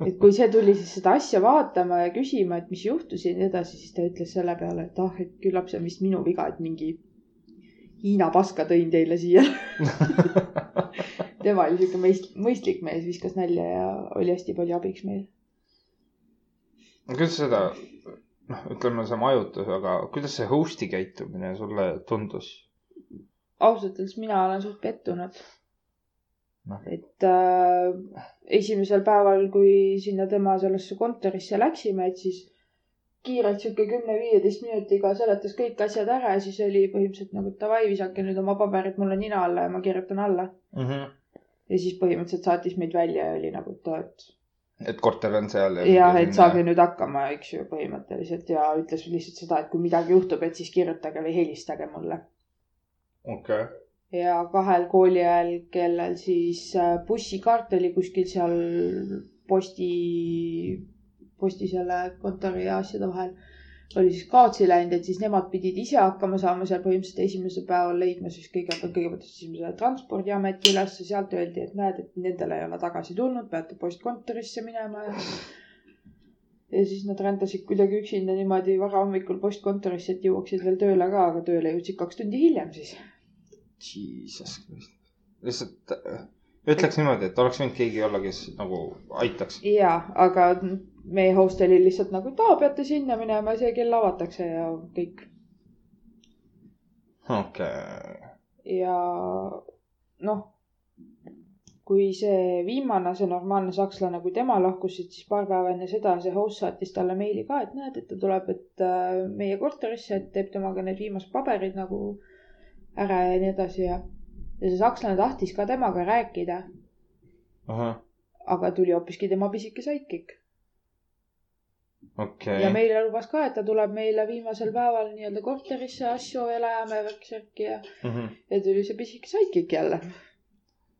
et kui see tuli siis seda asja vaatama ja küsima , et mis juhtus ja nii edasi , siis ta ütles selle peale , et ah , et küllap see on vist minu viga , et mingi Hiina paska tõin teile siia . tema oli siuke mõist- , mõistlik mees , viskas nalja ja oli hästi palju abiks meil .
kuidas seda , noh , ütleme see majutus , aga kuidas see host'i käitumine sulle tundus ?
ausalt öeldes mina olen suht pettunud
Noh. .
et äh, esimesel päeval , kui sinna tema sellesse kontorisse läksime , et siis kiirelt sihuke kümne-viieteist minutiga seletas kõik asjad ära ja siis oli põhimõtteliselt nagu et davai , visake nüüd oma paberid mulle nina alla ja ma kirjutan alla .
Mhm.
ja siis põhimõtteliselt saatis meid välja ja oli nagu , et oot ,
et korter on seal ja .
jah , et saage . nüüd hakkama , eks ju , põhimõtteliselt ja ütles lihtsalt seda , et kui midagi juhtub , et siis kirjutage või helistage mulle .
okei okay. .
ja kahel kooliajal , kellel siis äh, bussikaart oli kuskil seal posti , posti selle kontori ja asjade vahel , oli siis kaotsi läinud , et siis nemad pidid ise hakkama saama seal põhimõtteliselt esimesel päeval leidma siis kõigepealt , kõigepealt otsisime selle transpordiameti üles , sealt öeldi , et näed , et nendele ei ole tagasi tulnud , peate postkontorisse minema ja ja siis nad rändasid kuidagi üksinda niimoodi varahommikul postkontorisse , et jõuaksid veel tööle ka , aga tööle jõudsid kaks tundi hiljem siis .
Jesus Christ . lihtsalt äh, ütleks niimoodi , et oleks võinud keegi olla , kes nagu aitaks .
ja , aga meie host oli lihtsalt nagu , et aa , peate sinna minema , see kell avatakse ja kõik
okei okay. .
ja noh , kui see viimane , see normaalne sakslane , kui tema lahkus , siis paar päeva enne seda see host saatis talle meili ka , et näed , et ta tuleb , et äh, meie korterisse , et teeb temaga need viimased paberid nagu ära ja nii edasi ja , ja see sakslane tahtis ka temaga rääkida ,
ahah ,
aga tuli hoopiski tema pisike saikik .
okei
ja
okay. .
meile lubas ka , et ta tuleb meile viimasel päeval nii-öelda korterisse asju veel ajama ja värk-särki ja ,
Mm -hmm.
ja tuli see pisike saikik jälle .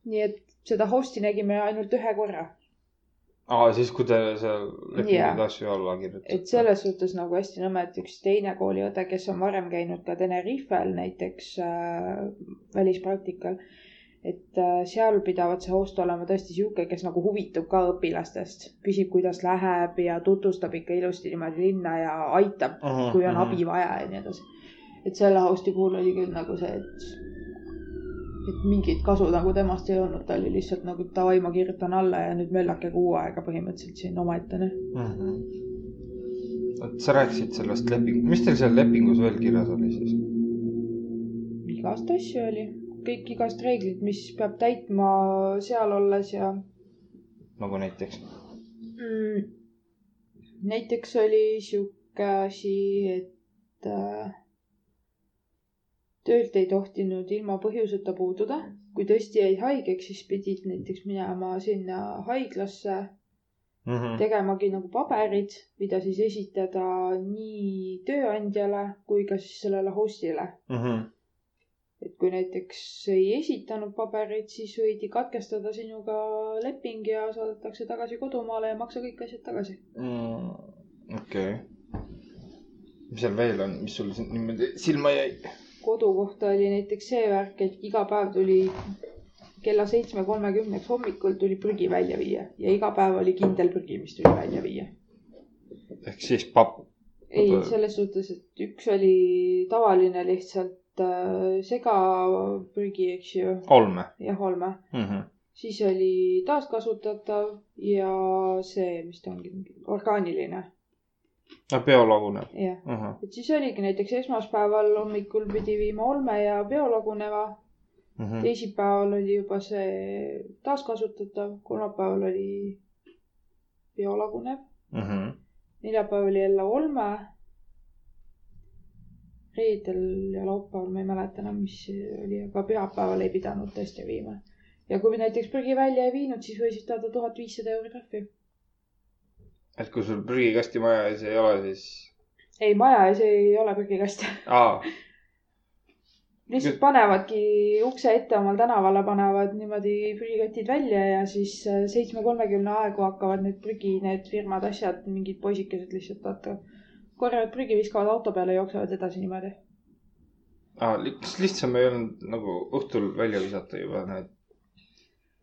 nii et seda host'i nägime ainult ühe korra ,
aa , siis kui te seal lepinguid
Jaa.
asju alla kirjutate .
et selles suhtes nagu hästi nõme , et üks teine kooliõde , kes on varem käinud ka Tenerifel näiteks äh, välispraktikal , et äh, seal pidavat see host olema tõesti sihuke , kes nagu huvitub ka õpilastest , küsib , kuidas läheb ja tutvustab ikka ilusti niimoodi linna ja aitab kui
Mhm.
on
Mm-hmm.
abi . vaja ja nii edasi . et selle hosti puhul oli küll nagu see , et , et mingit kasu nagu temast ei olnud , ta oli lihtsalt nagu davai ,
Mhm.
noh. ma kirjutan alla ja nüüd möllake kuu aega põhimõtteliselt siin omaette .
Mm -hmm. vot sa rääkisid sellest leping , mis teil seal lepingus veel kirjas oli siis ?
igast asju oli , kõik igast reeglid , mis peab täitma seal olles ja
nagu näiteks ?
mm, . näiteks oli sihuke asi , et äh, töölt ei tohtinud ilma põhjuseta puududa , kui tõesti jäi haigeks , siis pidid näiteks minema sinna haiglasse
Mhm.
tegemagi nagu paberid , mida siis esitada nii tööandjale kui ka siis sellele host'ile .
Mhm.
et kui näiteks ei esitanud pabereid , siis võidi katkestada sinuga leping ja saadetakse tagasi kodumaale ja maksa kõik asjad tagasi .
Mm. okei . mis seal veel on , mis sul siin niimoodi silma jäi ?
kodu kohta oli näiteks see värk , et iga päev tuli kella seitsme kolmekümneks hommikul tuli prügi välja viia ja iga päev oli kindel prügi , mis tuli välja viia .
ehk siis papp .
ei
Oota. ,
selles suhtes , et üks oli tavaline lihtsalt äh, segaprügi , eks ju ,
olme
jah , olme .
mm . -hmm.
siis oli taaskasutatav ja see , mis ta ongi , orgaaniline ,
ja biolaguneb
jah .
uh . -huh.
et siis oligi näiteks esmaspäeval hommikul pidi viima olme ja biolaguneva ,
Mm -hmm.
teisipäeval oli juba see taaskasutatav , kolmapäeval oli biolagunev ,
mm -hmm.
neljapäeval oli jälle olme . reedel ja laupäeval ma ei mäleta enam , mis see oli , aga pühapäeval ei pidanud tõesti viima . ja kui näiteks prügi välja ei viinud , siis võisid saada tuhat viissada euri trahvi .
et kui sul prügikasti maja ees ei ole , siis
ei , maja ees ei ole prügikast .
ah, .
lihtsalt panevadki ukse ette omal tänavale , panevad niimoodi prügikotid välja ja siis seitsme kolmekümne aegu hakkavad need prügi , need firmad , asjad , mingid poisikesed lihtsalt vaata , korjavad prügi , viskavad auto peale , jooksevad edasi niimoodi .
Ah, li- kas lihtsam ei olnud nagu õhtul välja visata juba need ?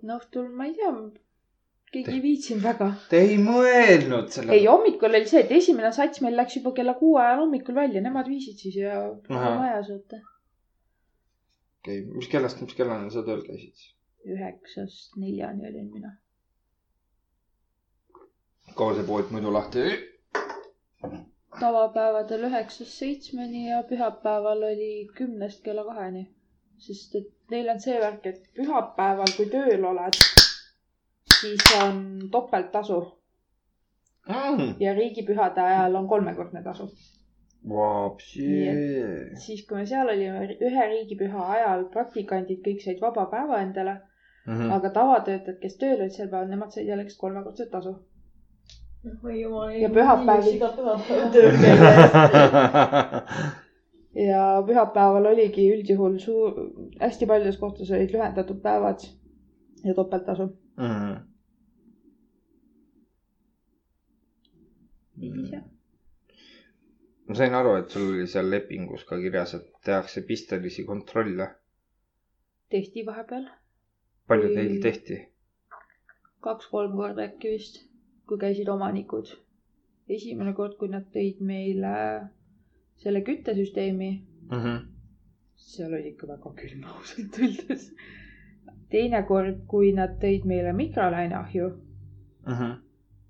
no õhtul ma ei tea , keegi ei viitsinud väga .
Te ei mõelnud selle
ei ,. hommikul oli see , et esimene sats meil läks juba kella kuue ajal hommikul välja , nemad viisid siis ja
Ahah.
majas vaata .
okei , mis kellast , mis kellani sa tööl käisid siis ?
üheksast neljani olin mina .
kaua see pood muidu lahti oli ?
tavapäevadel üheksast seitsmeni ja pühapäeval oli kümnest kella kaheni . sest et neil on see värk , et pühapäeval , kui tööl oled , siis on topelttasu
Mm.
ja riigipühade ajal on kolmekordne tasu . Nii
Vapsi .
siis , kui me seal olime , ühe riigipüha ajal praktikandid kõik said vaba päeva endale ,
Mm. Mhm.
aga tavatöötajad , kes tööl olid sel päeval , nemad said jällegi kolmekordset tasu .
oi jumal .
Ja pühapäev-
iga pühapäev tööl käia .
ja pühapäeval oligi üldjuhul suur , hästi paljudes kohtades olid lühendatud päevad ja topelttasu .
Mm-hmm. ma sain aru , et sul oli seal lepingus ka kirjas , et tehakse pistelisi kontrolle .
tehti vahepeal
palju
Ei.
teil tehti ?
kaks-kolm korda äkki vist , kui käisid omanikud . esimene kord , kui nad tõid meile selle küttesüsteemi seal oli ikka väga külm ausalt öeldes . teinekord , kui nad tõid meile mikrolaineahju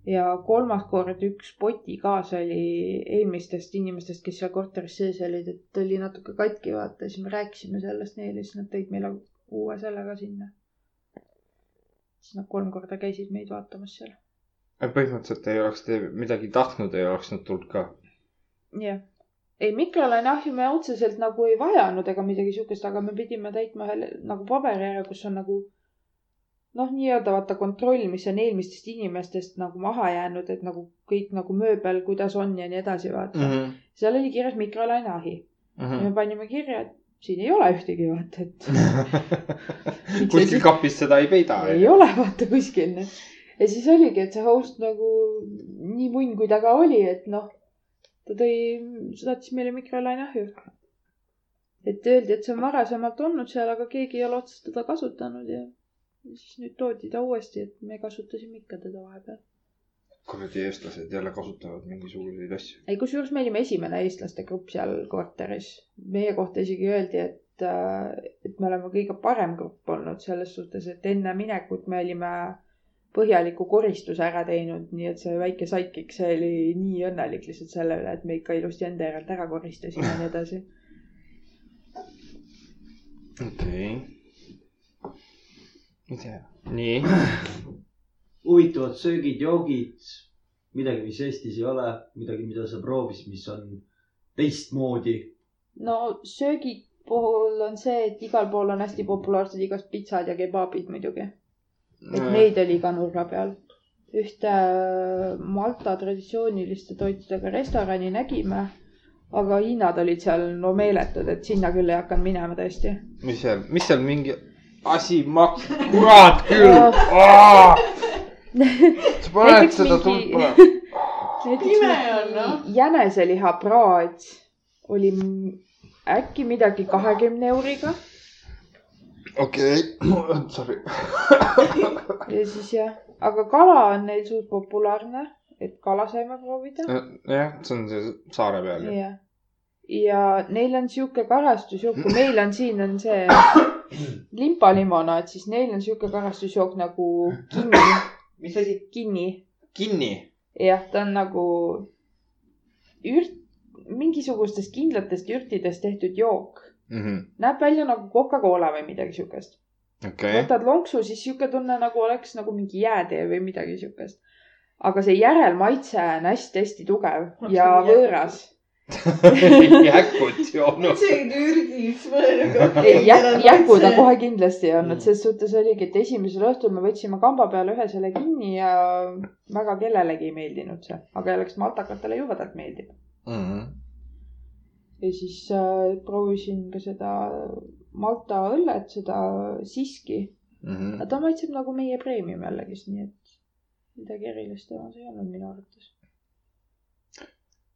ja kolmas kord üks poti gaas oli eelmistest inimestest , kes seal korteris sees olid , et oli natuke katki , vaata , siis me rääkisime sellest neile , siis nad tõid meile uue selle ka sinna . siis nad kolm korda käisid meid vaatamas seal .
põhimõtteliselt ei oleks te midagi tahtnud , ei oleks nad tulnud ka .
jah . ei , mikrolaineahju me otseselt nagu ei vajanud ega midagi siukest , aga me pidime täitma ühe le- nagu paberi ära , kus on nagu noh , nii-öelda vaata kontroll , mis on eelmistest inimestest nagu maha jäänud , et nagu kõik nagu mööbel , kuidas on ja nii edasi , vaata
Mhm.
mm . -hmm. seal oli kirjas mikrolaineahi ja me panime kirja , et siin ei ole ühtegi , vaata , et
kuskil kapis seda ei peida .
ei ole vaata kuskil . ja siis oligi , et see host nagu nii munn , kui ta ka oli , et noh , ta tõi , saatis meile mikrolaineahju . et öeldi , et see on varasemalt olnud seal , aga keegi ei ole otseselt teda kasutanud ja ja siis nüüd toodi ta uuesti , et me kasutasime ikka teda vahepeal .
kuradi eestlased jälle kasutavad mingisuguseid asju .
ei , kusjuures me olime esimene eestlaste grupp seal korteris . meie kohta isegi öeldi , et , et me oleme kõige parem grupp olnud selles suhtes , et enne minekut me olime põhjaliku koristuse ära teinud , nii et see väike saikik , see oli nii õnnelik lihtsalt selle üle , et me ikka ilusti enda järelt ära koristasime ja nii edasi .
okei okay. .
nii ,
huvitavad söögid-joogid , midagi , mis Eestis ei ole , midagi , mida sa proovisid , mis on teistmoodi .
no söögi puhul on see , et igal pool on hästi populaarsed igast pitsad ja kebaabid muidugi . et neid oli iga nurga peal . ühte äh, Malta traditsiooniliste toitudega restorani nägime , aga hinnad olid seal no meeletud , et sinna küll ei hakanud minema tõesti .
mis seal , mis seal mingi asi maks- , kurat küll . sa paned
Näiteks
seda
mingi-
tuld põlema .
Ime on, noh.
jäneselihapraad oli m- äkki midagi kahekümne euriga
okei , sorry .
ja siis jah , aga kala on neil suht populaarne , et kala saime proovida .
Äh, jah , see on see saare peal ju .
jah , ja neil on sihuke karastusjook , kui meil on siin on see limbalimonaad , siis neil on sihuke karastusjook nagu kinni ,
mis asi ?
kinni .
kinni .
jah , ta on nagu ürt , mingisugustest kindlatest ürtidest tehtud jook .
Mhm.
näeb välja nagu Coca-Cola või midagi siukest .
okei ,
võtad lonksu , siis sihuke tunne nagu oleks nagu mingi jäätee või midagi siukest . aga see järelmaitse on hästi-hästi tugev
Oleks
ja
nagu
võõras
jäkud joonud .
isegi Türgis võõrga .
ei , jäku ta kohe kindlasti ei
Mm.
olnud , selles suhtes oligi , et esimesel õhtul me võtsime kamba peale ühe selle kinni ja väga kellelegi ei meeldinud see , aga läks maltakatele jubedalt meeldib .
Mhm.
ja siis äh, proovisin ka seda Malta õllet , seda siski ,
Mhm.
aga ta maitseb nagu meie premium jällegist , nii et midagi erilist temas ei olnud minu arvates .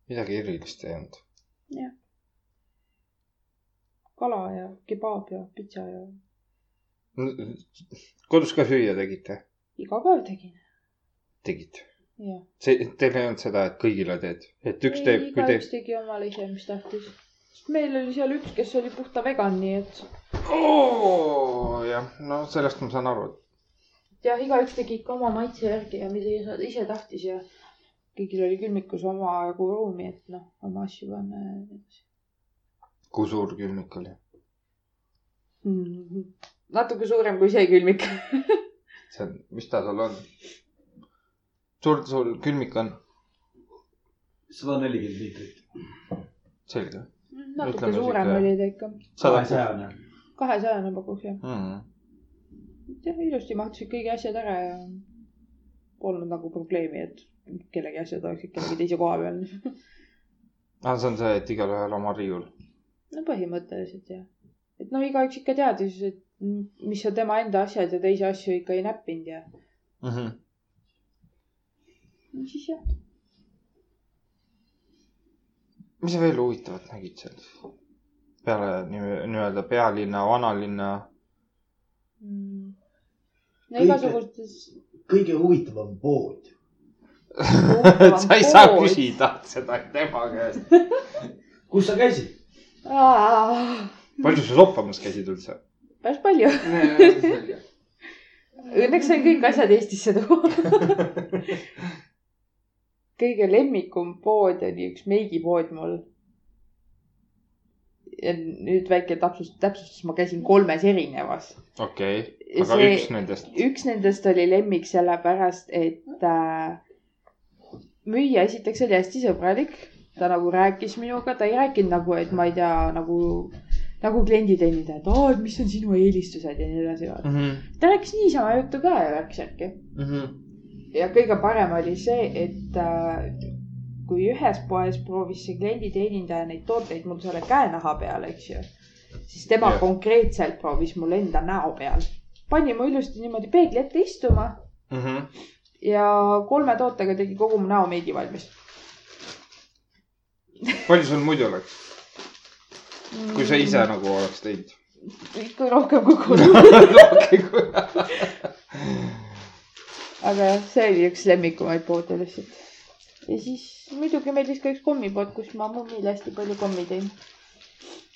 midagi erilist ei olnud .
kala ja kebaab ja pitsa ja
kodus ka süüa tegite ?
iga päev tegin ,
tegite ?
jah .
see , teil ei olnud seda , et kõigile teed , et üks teeb , kui teeb
igaüks . tegi omale ise , mis tahtis . meil oli seal üks , kes oli puhta vegan , nii et
jah , no sellest ma saan aru .
jah , igaüks tegi ikka oma maitse järgi ja mida ise- ise tahtis ja kõigil oli külmikus omajagu ruumi , et noh , oma asju panna ja nii edasi
kui suur külmik oli ?
mm . -hmm. natuke suurem kui see külmik .
see on , mis ta sul on ? suur ta sul külmik on ?
sada nelikümmend liitrit .
selge .
Mm, natuke
Ütleme
suurem
sihuke-
oli ta ikka ,
kahesajane .
kahesajane pakuks jah .
mm .
jah , ilusti mahtusid kõigi asjad ära ja polnud nagu probleemi , et kellegi asjad oleksid kellegi teise koha peal .
aga Ah, see on see , et igalühel oma riiul .
no põhimõtteliselt jah . et noh , igaüks ikka teadis , et m- mis on tema enda asjad ja teisi asju ikka ei näppinud ja no siis jah .
mis sa veel huvitavat nägid seal ? peale nii- nii-öelda pealinna , vanalinna .
no
Kõik-
igasugustes .
kõige huvitavam pood .
sa ei saa . küsida seda tema käest .
kus sa käisid ?
palju sa soppamas käisid üldse ?
päris palju . Õnneks sain kõik asjad Eestisse tuua . kõige lemmikum pood oli üks meigipood mul . ja nüüd väike täpsustus , täpsustus , ma käisin kolmes erinevas .
okei , aga see...
See-
üks nendest .
üks nendest oli lemmik sellepärast , et äh, müüja esiteks oli hästi sõbralik , ta nagu rääkis minuga , ta ei rääkinud nagu , et ma ei tea , nagu , nagu kliendi teenindaja , et aa , et mis on sinu eelistused ja nii edasi . ta rääkis niisama juttu ka ja rääkis äkki . ja kõige parem oli see , et äh, kui ühes poes proovis see klienditeenindaja neid tooteid mul selle käenaha peal , eks ju , siis
Jah.
tema yeah. konkreetselt proovis mul enda näo peal . pani mu ilusti niimoodi peegli ette istuma
Mhm.
ja kolme tootega tegi kogu mu näomeigi valmis .
palju sul muidu oleks , kui sa ise ? nagu oleks teinud ?
Mm, ikka rohkem kui kolm . aga jah , see oli üks lemmikumaid poote lihtsalt . ja siis muidugi meeldis ka üks kommipood , kus ma mummile hästi palju kommi tõin .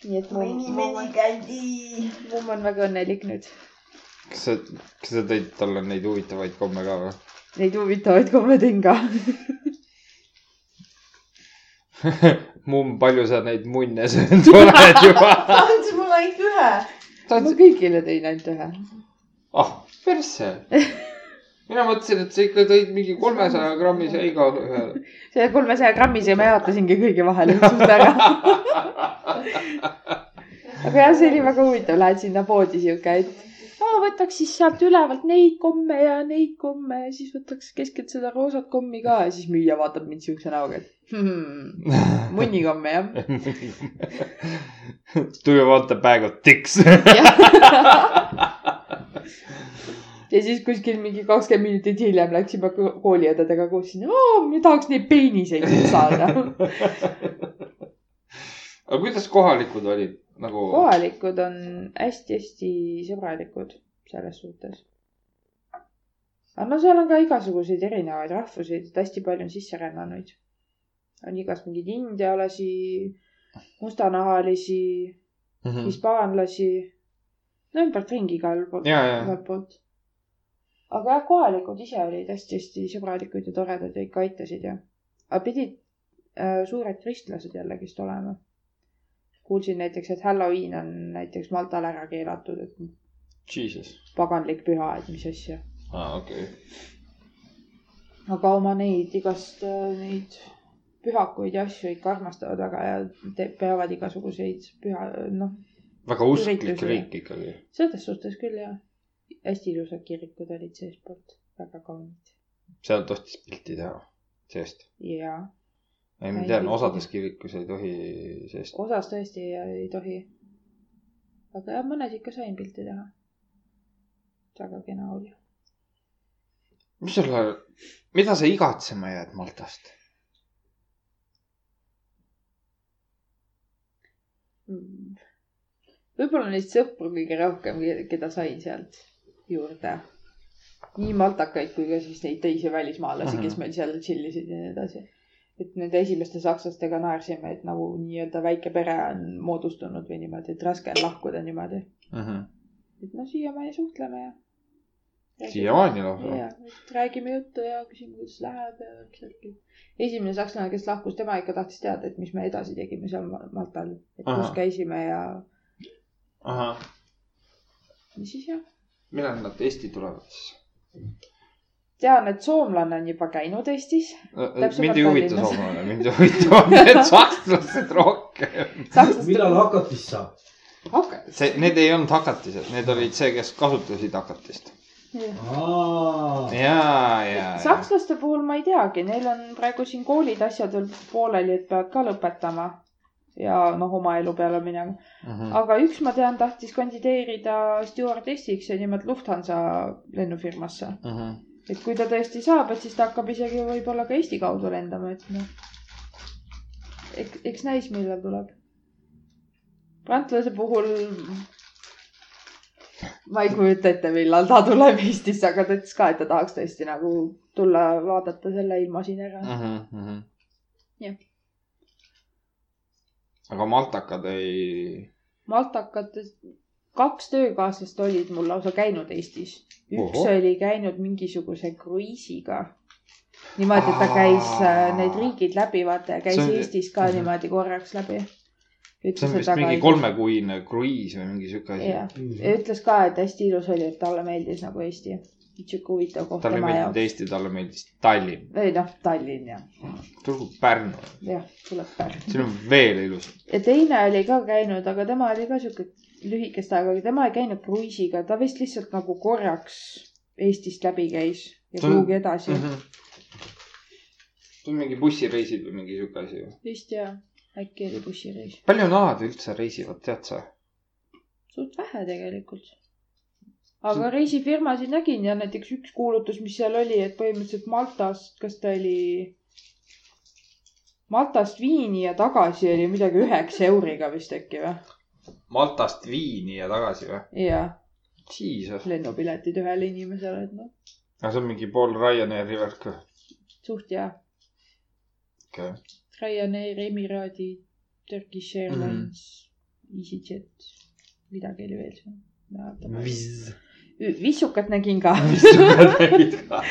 nii et mumm , mumm on ,
mini-mini-kandi .
mumm on väga õnnelik nüüd .
kas sa , kas sa tõid talle neid huvitavaid komme ka või ?
Neid huvitavaid komme teen ka .
Mumm , palju sa neid munne söönud oled juba ?
ta andis mulle ainult ühe .
ma kõigile tõin ainult ühe .
ah , persse . mina mõtlesin , et sa ikka tõid mingi kolmesaja grammise igale ühele .
selle kolmesaja grammise ma jaotasingi kõigi vahel õhtust ära . aga jah , see oli väga huvitav , lähed sinna poodi siuke , et aa, võtaks siis sealt ülevalt neid komme ja neid komme ja siis võtaks keskelt seda roosat kommi ka ja siis müüja vaatab mind siukse näoga , et hmm, munnikomme jah .
Do you want a bag of dicks ?
ja siis kuskil mingi kakskümmend minutit hiljem läksime ko- kooliõdedega koos sinna , me tahaks neid peeniseid nüüd saada .
aga kuidas kohalikud olid nagu ?
kohalikud on hästi-hästi sõbralikud selles suhtes . aga no seal on ka igasuguseid erinevaid rahvusi , et hästi palju on sisserännanuid . on igas mingeid indialasi , mustanahalisi ,
Mhm. Mm.
hispaanlasi , no ümbertringi igal pool .
ja , ja ,
igalt poolt . aga jah , kohalikud ise olid hästi-hästi sõbralikud ja toredad ja ikka aitasid ja . aga pidid äh, suured kristlased jällegist olema . kuulsin näiteks , et Halloween on näiteks Maltal ära keelatud , et
jesus .
paganlik püha , et mis asja .
aa , okei .
aga oma neid igast äh, neid pühakuid ja asju ikka armastavad väga ja te- peavad igasuguseid püha , noh ,
väga usklik
Üritusi.
riik ikkagi .
selles suhtes küll jah . hästi ilusad kirikud olid seestpoolt , väga kaunid
seal tohtis pilti teha , seest .
ja
ei , ma
Ei,
tean ,
pilti.
osades kirikus ei tohi seest .
osas tõesti ei, ei tohi . aga jah , mõnes ikka sain pilti teha . väga kena oli .
mis sulle , mida sa igatsema jääd Maltast ?
võib-olla neid sõpru kõige rohkem , keda sain sealt juurde . nii maltakaid kui ka siis neid teisi välismaalasi , kes meil seal tšillisid ja nii edasi . et nende esimeste sakslastega naersime , et nagu nii-öelda väike pere on moodustunud või niimoodi , et raske on lahkuda niimoodi . et noh , siiamaani suhtleme ja .
siiamaani noh. lausa .
ja , räägime juttu ja küsime , kuidas läheb ja värk-särki . esimene sakslane , kes lahkus , tema ikka tahtis teada , et mis me edasi tegime seal Ma- Maltal , et kus
Ahah.
käisime ja
ahah ,
ja siis jah .
millal nad Eesti tulevad siis ?
tean , et soomlane on juba käinud Eestis ,
Äh,
Täpsemalt
mind ei huvita
Tallinnas.
soomlane , mind huvitavad need sakslased rohkem .
sakslastele
millal hakatis saab ?
hakkas .
see , need ei olnud hakatised , need olid see , kes kasutasid hakatist . ja , ja , ja .
sakslaste puhul ma ei teagi , neil on praegu siin koolid , asjad veel pooleli , et peavad ka lõpetama ja noh , oma elu peale minema .
Mhm,
aga üks ma tean , tahtis kandideerida stjuardessiks ja nimelt Lufthansa lennufirmasse .
mhm,
et kui ta tõesti saab , et siis ta hakkab isegi võib-olla ka Eesti kaudu lendama , et noh . eks , eks näis , millal tuleb . prantsuse puhul ma ei kujuta ette , millal ta tuleb Eestisse , aga ta ütles ka , et ta tahaks tõesti nagu tulla vaadata selle ilma siin ära .
mhm,
Jah.
aga maltakad ei .
maltakates kaks töökaaslast olid mul lausa käinud Eestis . üks
Oho.
oli käinud mingisuguse kruiisiga . niimoodi , et ta käis äh, need riigid läbi , vaata ja käis
See on-
Eestis ka
Mhm.
niimoodi korraks läbi .
see on vist mingi Mhm. kolmekuine kruiis või mingi sihuke asi .
jah , ütles ka , et hästi ilus oli , et talle meeldis nagu Eesti . sihuke huvitav koht
talle ei
tema
meeldinud
jaoks .
Eesti , talle meeldis Tallinn .
ei noh , Tallinn ja ,
tulgu Pärnu ,
jah , tuleb Pärnu .
siin on veel ilusam .
ja teine oli ka käinud , aga tema oli ka sihuke lühikest aega , aga tema ei käinud kruiisiga , ta vist lihtsalt nagu korraks Eestist läbi käis ja
Ta Mhm. on-
kuhugi edasi mm .
see on mingi bussireisid või mingi sihuke asi või ?
-hmm. vist ja äkki oli bussireis ,
palju nad üldse reisivad , tead sa ?
suht vähe tegelikult . aga reisifirmasid nägin ja näiteks üks kuulutus , mis seal oli , et põhimõtteliselt Maltast , kas ta oli Maltast Viini ja tagasi oli midagi üheksa euriga vist äkki või ?
Maltast Viini ja tagasi või ?
jaa ,
Jesus ,
lennupiletid ühele inimesele , et noh ,
aga see on mingi pool Ryanairi värk või ?
suht hea
okei .
Ryanair , Emiraadi , Turkish Airlines mm , -hmm. EasyJet , midagi oli veel seal .
Wizz .
vissukat nägin ka .
vissukad nägid ka .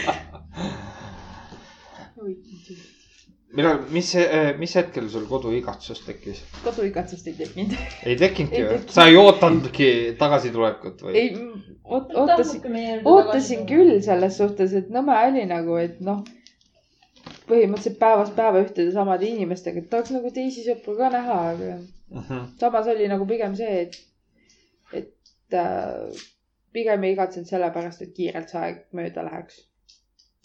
millal , mis , mis hetkel sul koduigatsus tekkis ?
koduigatsust ei tekkinud .
ei tekkinudki
Ei
või ?
tekkinud.
sa ei ootanudki tagasitulekut või ?
ei , ootasin , ootasin . küll selles suhtes , et nõme oli nagu , et noh , põhimõtteliselt päevast päeva ühtede samade inimestega , et tahaks nagu teisi sõpru ka näha , aga
Mhm.
samas oli nagu pigem see , et , et äh, pigem ei igatsenud sellepärast , et kiirelt see aeg mööda läheks .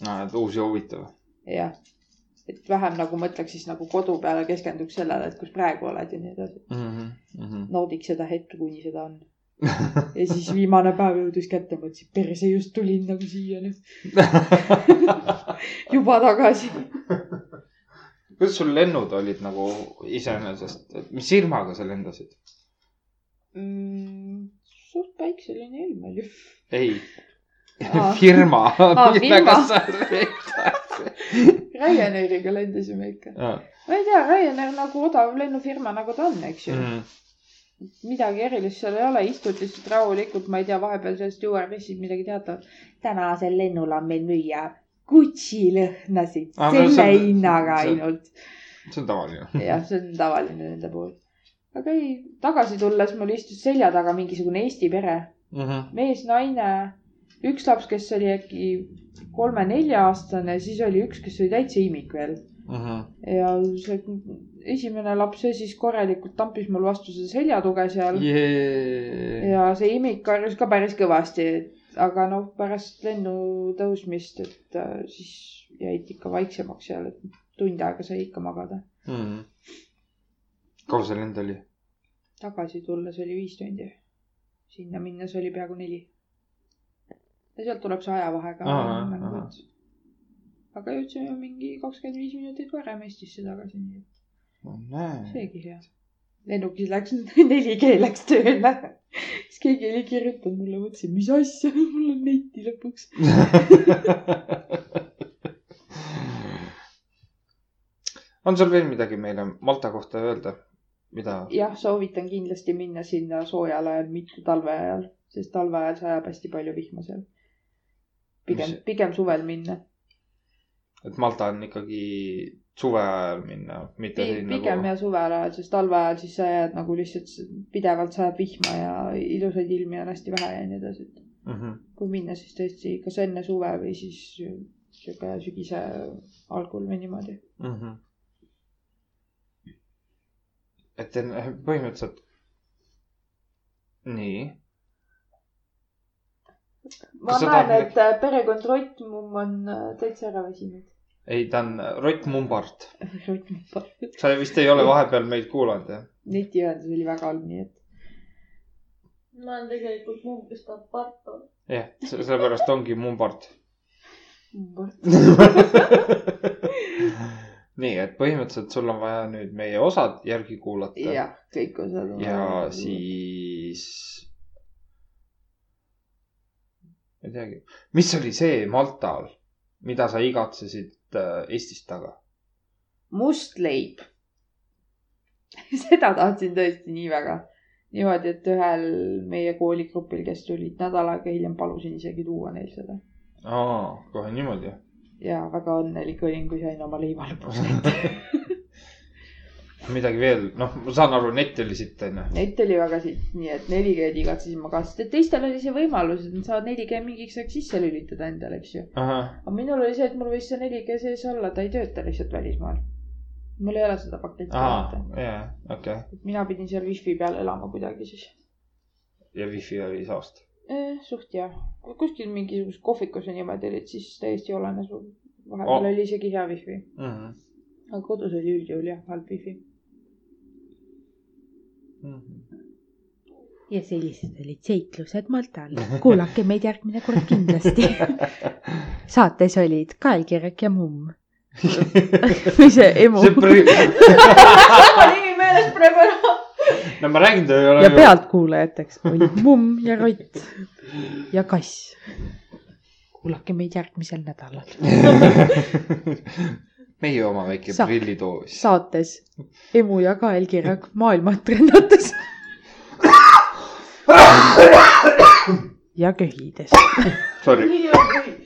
näed , uus ja huvitav .
jah , et vähem nagu mõtleks siis nagu kodu peale , keskenduks sellele , et kus praegu oled ja nii edasi .
Mhm,
naudiks seda hetke , kuni seda on . ja siis viimane päev jõudis kätte , mõtlesin , perse just tulin nagu siia nüüd . juba tagasi .
kuidas sul lennud olid nagu iseenesest , et mis ilmaga sa lendasid ?
Mm, suht päikseline ilm oli .
ei ,
Aa.
firma .
Aa, firma. Ryanairiga lendasime ikka . ma ei tea , Ryanair nagu odav lennufirma nagu ta on , eks
Mm.
ju . midagi erilist seal ei ole , istud lihtsalt rahulikult , ma ei tea , vahepeal seal stjuardessid midagi teatavad . tänasel lennul on meil müüa Gucci lõhnasid
Aa, no
selle
Ah, see on-
hinnaga
see-
ainult .
see on tavaline .
jah , see on tavaline nende puhul . aga ei , tagasi tulles mul istus selja taga mingisugune Eesti pere mees , naine , üks laps , kes oli äkki kolme-nelja-aastane , siis oli üks , kes oli täitsa imik veel ja see esimene laps , see siis korralikult tampis mul vastu seda seljatuge seal
jee .
ja see imik karjus ka päris kõvasti , aga noh , pärast lennu tõusmist , et äh, siis jäid ikka vaiksemaks seal , et tund aega sai ikka magada .
kaua see lend oli ?
tagasi tulles oli viis tundi , sinna minnes oli peaaegu neli . ja sealt tuleb see ajavahe ka
Aa,
nagu,
ahah.
et- aga jõudsime mingi kakskümmend viis minutit varem Eestisse tagasi , nii et
ma näen .
seegi hea . lennukis läks neli G läks tööle , siis keegi oli kirjutanud mulle , mõtlesin , mis asja , mul on neti lõpuks .
on sul veel midagi meile Malta kohta öelda , mida ?
jah , soovitan kindlasti minna sinna soojal ajal , mitte talve ajal , sest talve ajal sajab hästi palju vihma seal . pigem
Mis- ,
pigem suvel minna .
et Malta on ikkagi suve ajal minna , mitte
Pi-
siin
pigem
nagu
ja suvel ajal , sest talve ajal siis sa jääd nagu lihtsalt s- pidevalt sajab vihma ja ilusaid ilmi on hästi vähe ja nii edasi , et
mm . -hmm.
kui minna , siis tõesti kas enne suve või siis äh, sihuke sügise algul või niimoodi .
Mm -hmm. et en- põhimõtteliselt . nii ,
ma
Kas sa
näen ,
tahad-
et äh, perekond Rottmumm on äh, täitsa ära väsinud .
ei , ta on Rott Mumbart ,
Rottmumm ,
sa vist ei ole vahepeal meid kuulanud jah ?
netiühendus oli väga halb , nii et
ma olen tegelikult Mumbist Aparto .
jah , sellepärast ongi Mumbart .
mm,
nii , et põhimõtteliselt sul on vaja nüüd meie osad järgi kuulata
jah , kõik osad .
ja . siis . ma ei teagi , mis oli see Maltal , mida sa igatsesid äh, Eestist taga ?
must leib . seda tahtsin tõesti nii väga . niimoodi , et ühel meie kooligrupil , kes tulid nädal aega hiljem , palusin isegi tuua neil seda .
aa , kohe niimoodi jah ?
ja väga õnnelik olin , kui sain oma leiva lõpuks kätte .
midagi veel , noh , ma saan aru , nett oli sitt onju .
Neid tuli väga siit , nii et 4G-d igatsesin ma ka , sest et teistel oli see võimalus , et nad saavad 4G mingiks ajaks sisse lülitada endale , eks ju . aga minul oli see , et mul võis see 4G sees olla , ta ei tööta lihtsalt välismaal . mul ei ole seda paketti
aa
vaata .,
jaa , okei .
mina pidin seal wifi peal elama kuidagi siis .
ja wifi oli saast .
Eh, suht jah , kuskil mingisuguses kohvikus ja niimoodi olid , siis täiesti olenes .
Oh.
vahepeal oli isegi hea wifi ,
Mm
aga kodus oli üldjuhul jah halb wifi .
-hmm.
ja sellised olid seiklused Maltal . kuulake meid järgmine kord kindlasti . saates olid Kaelkirjak ja Mumm . või see Emu
see . pri- ,
tema nimi meeles praegu ära .
no ma räägin , ta ei ole
ja . pealtkuulajateks olid Mumm ja Rott ja Kass . kuulake meid järgmisel nädalal .
meie oma väike
Sa-
prillidoos .
saates Emu ja Kaelkirjak maailma trendates .
ja köhides .
Sorry .
nii on kõik .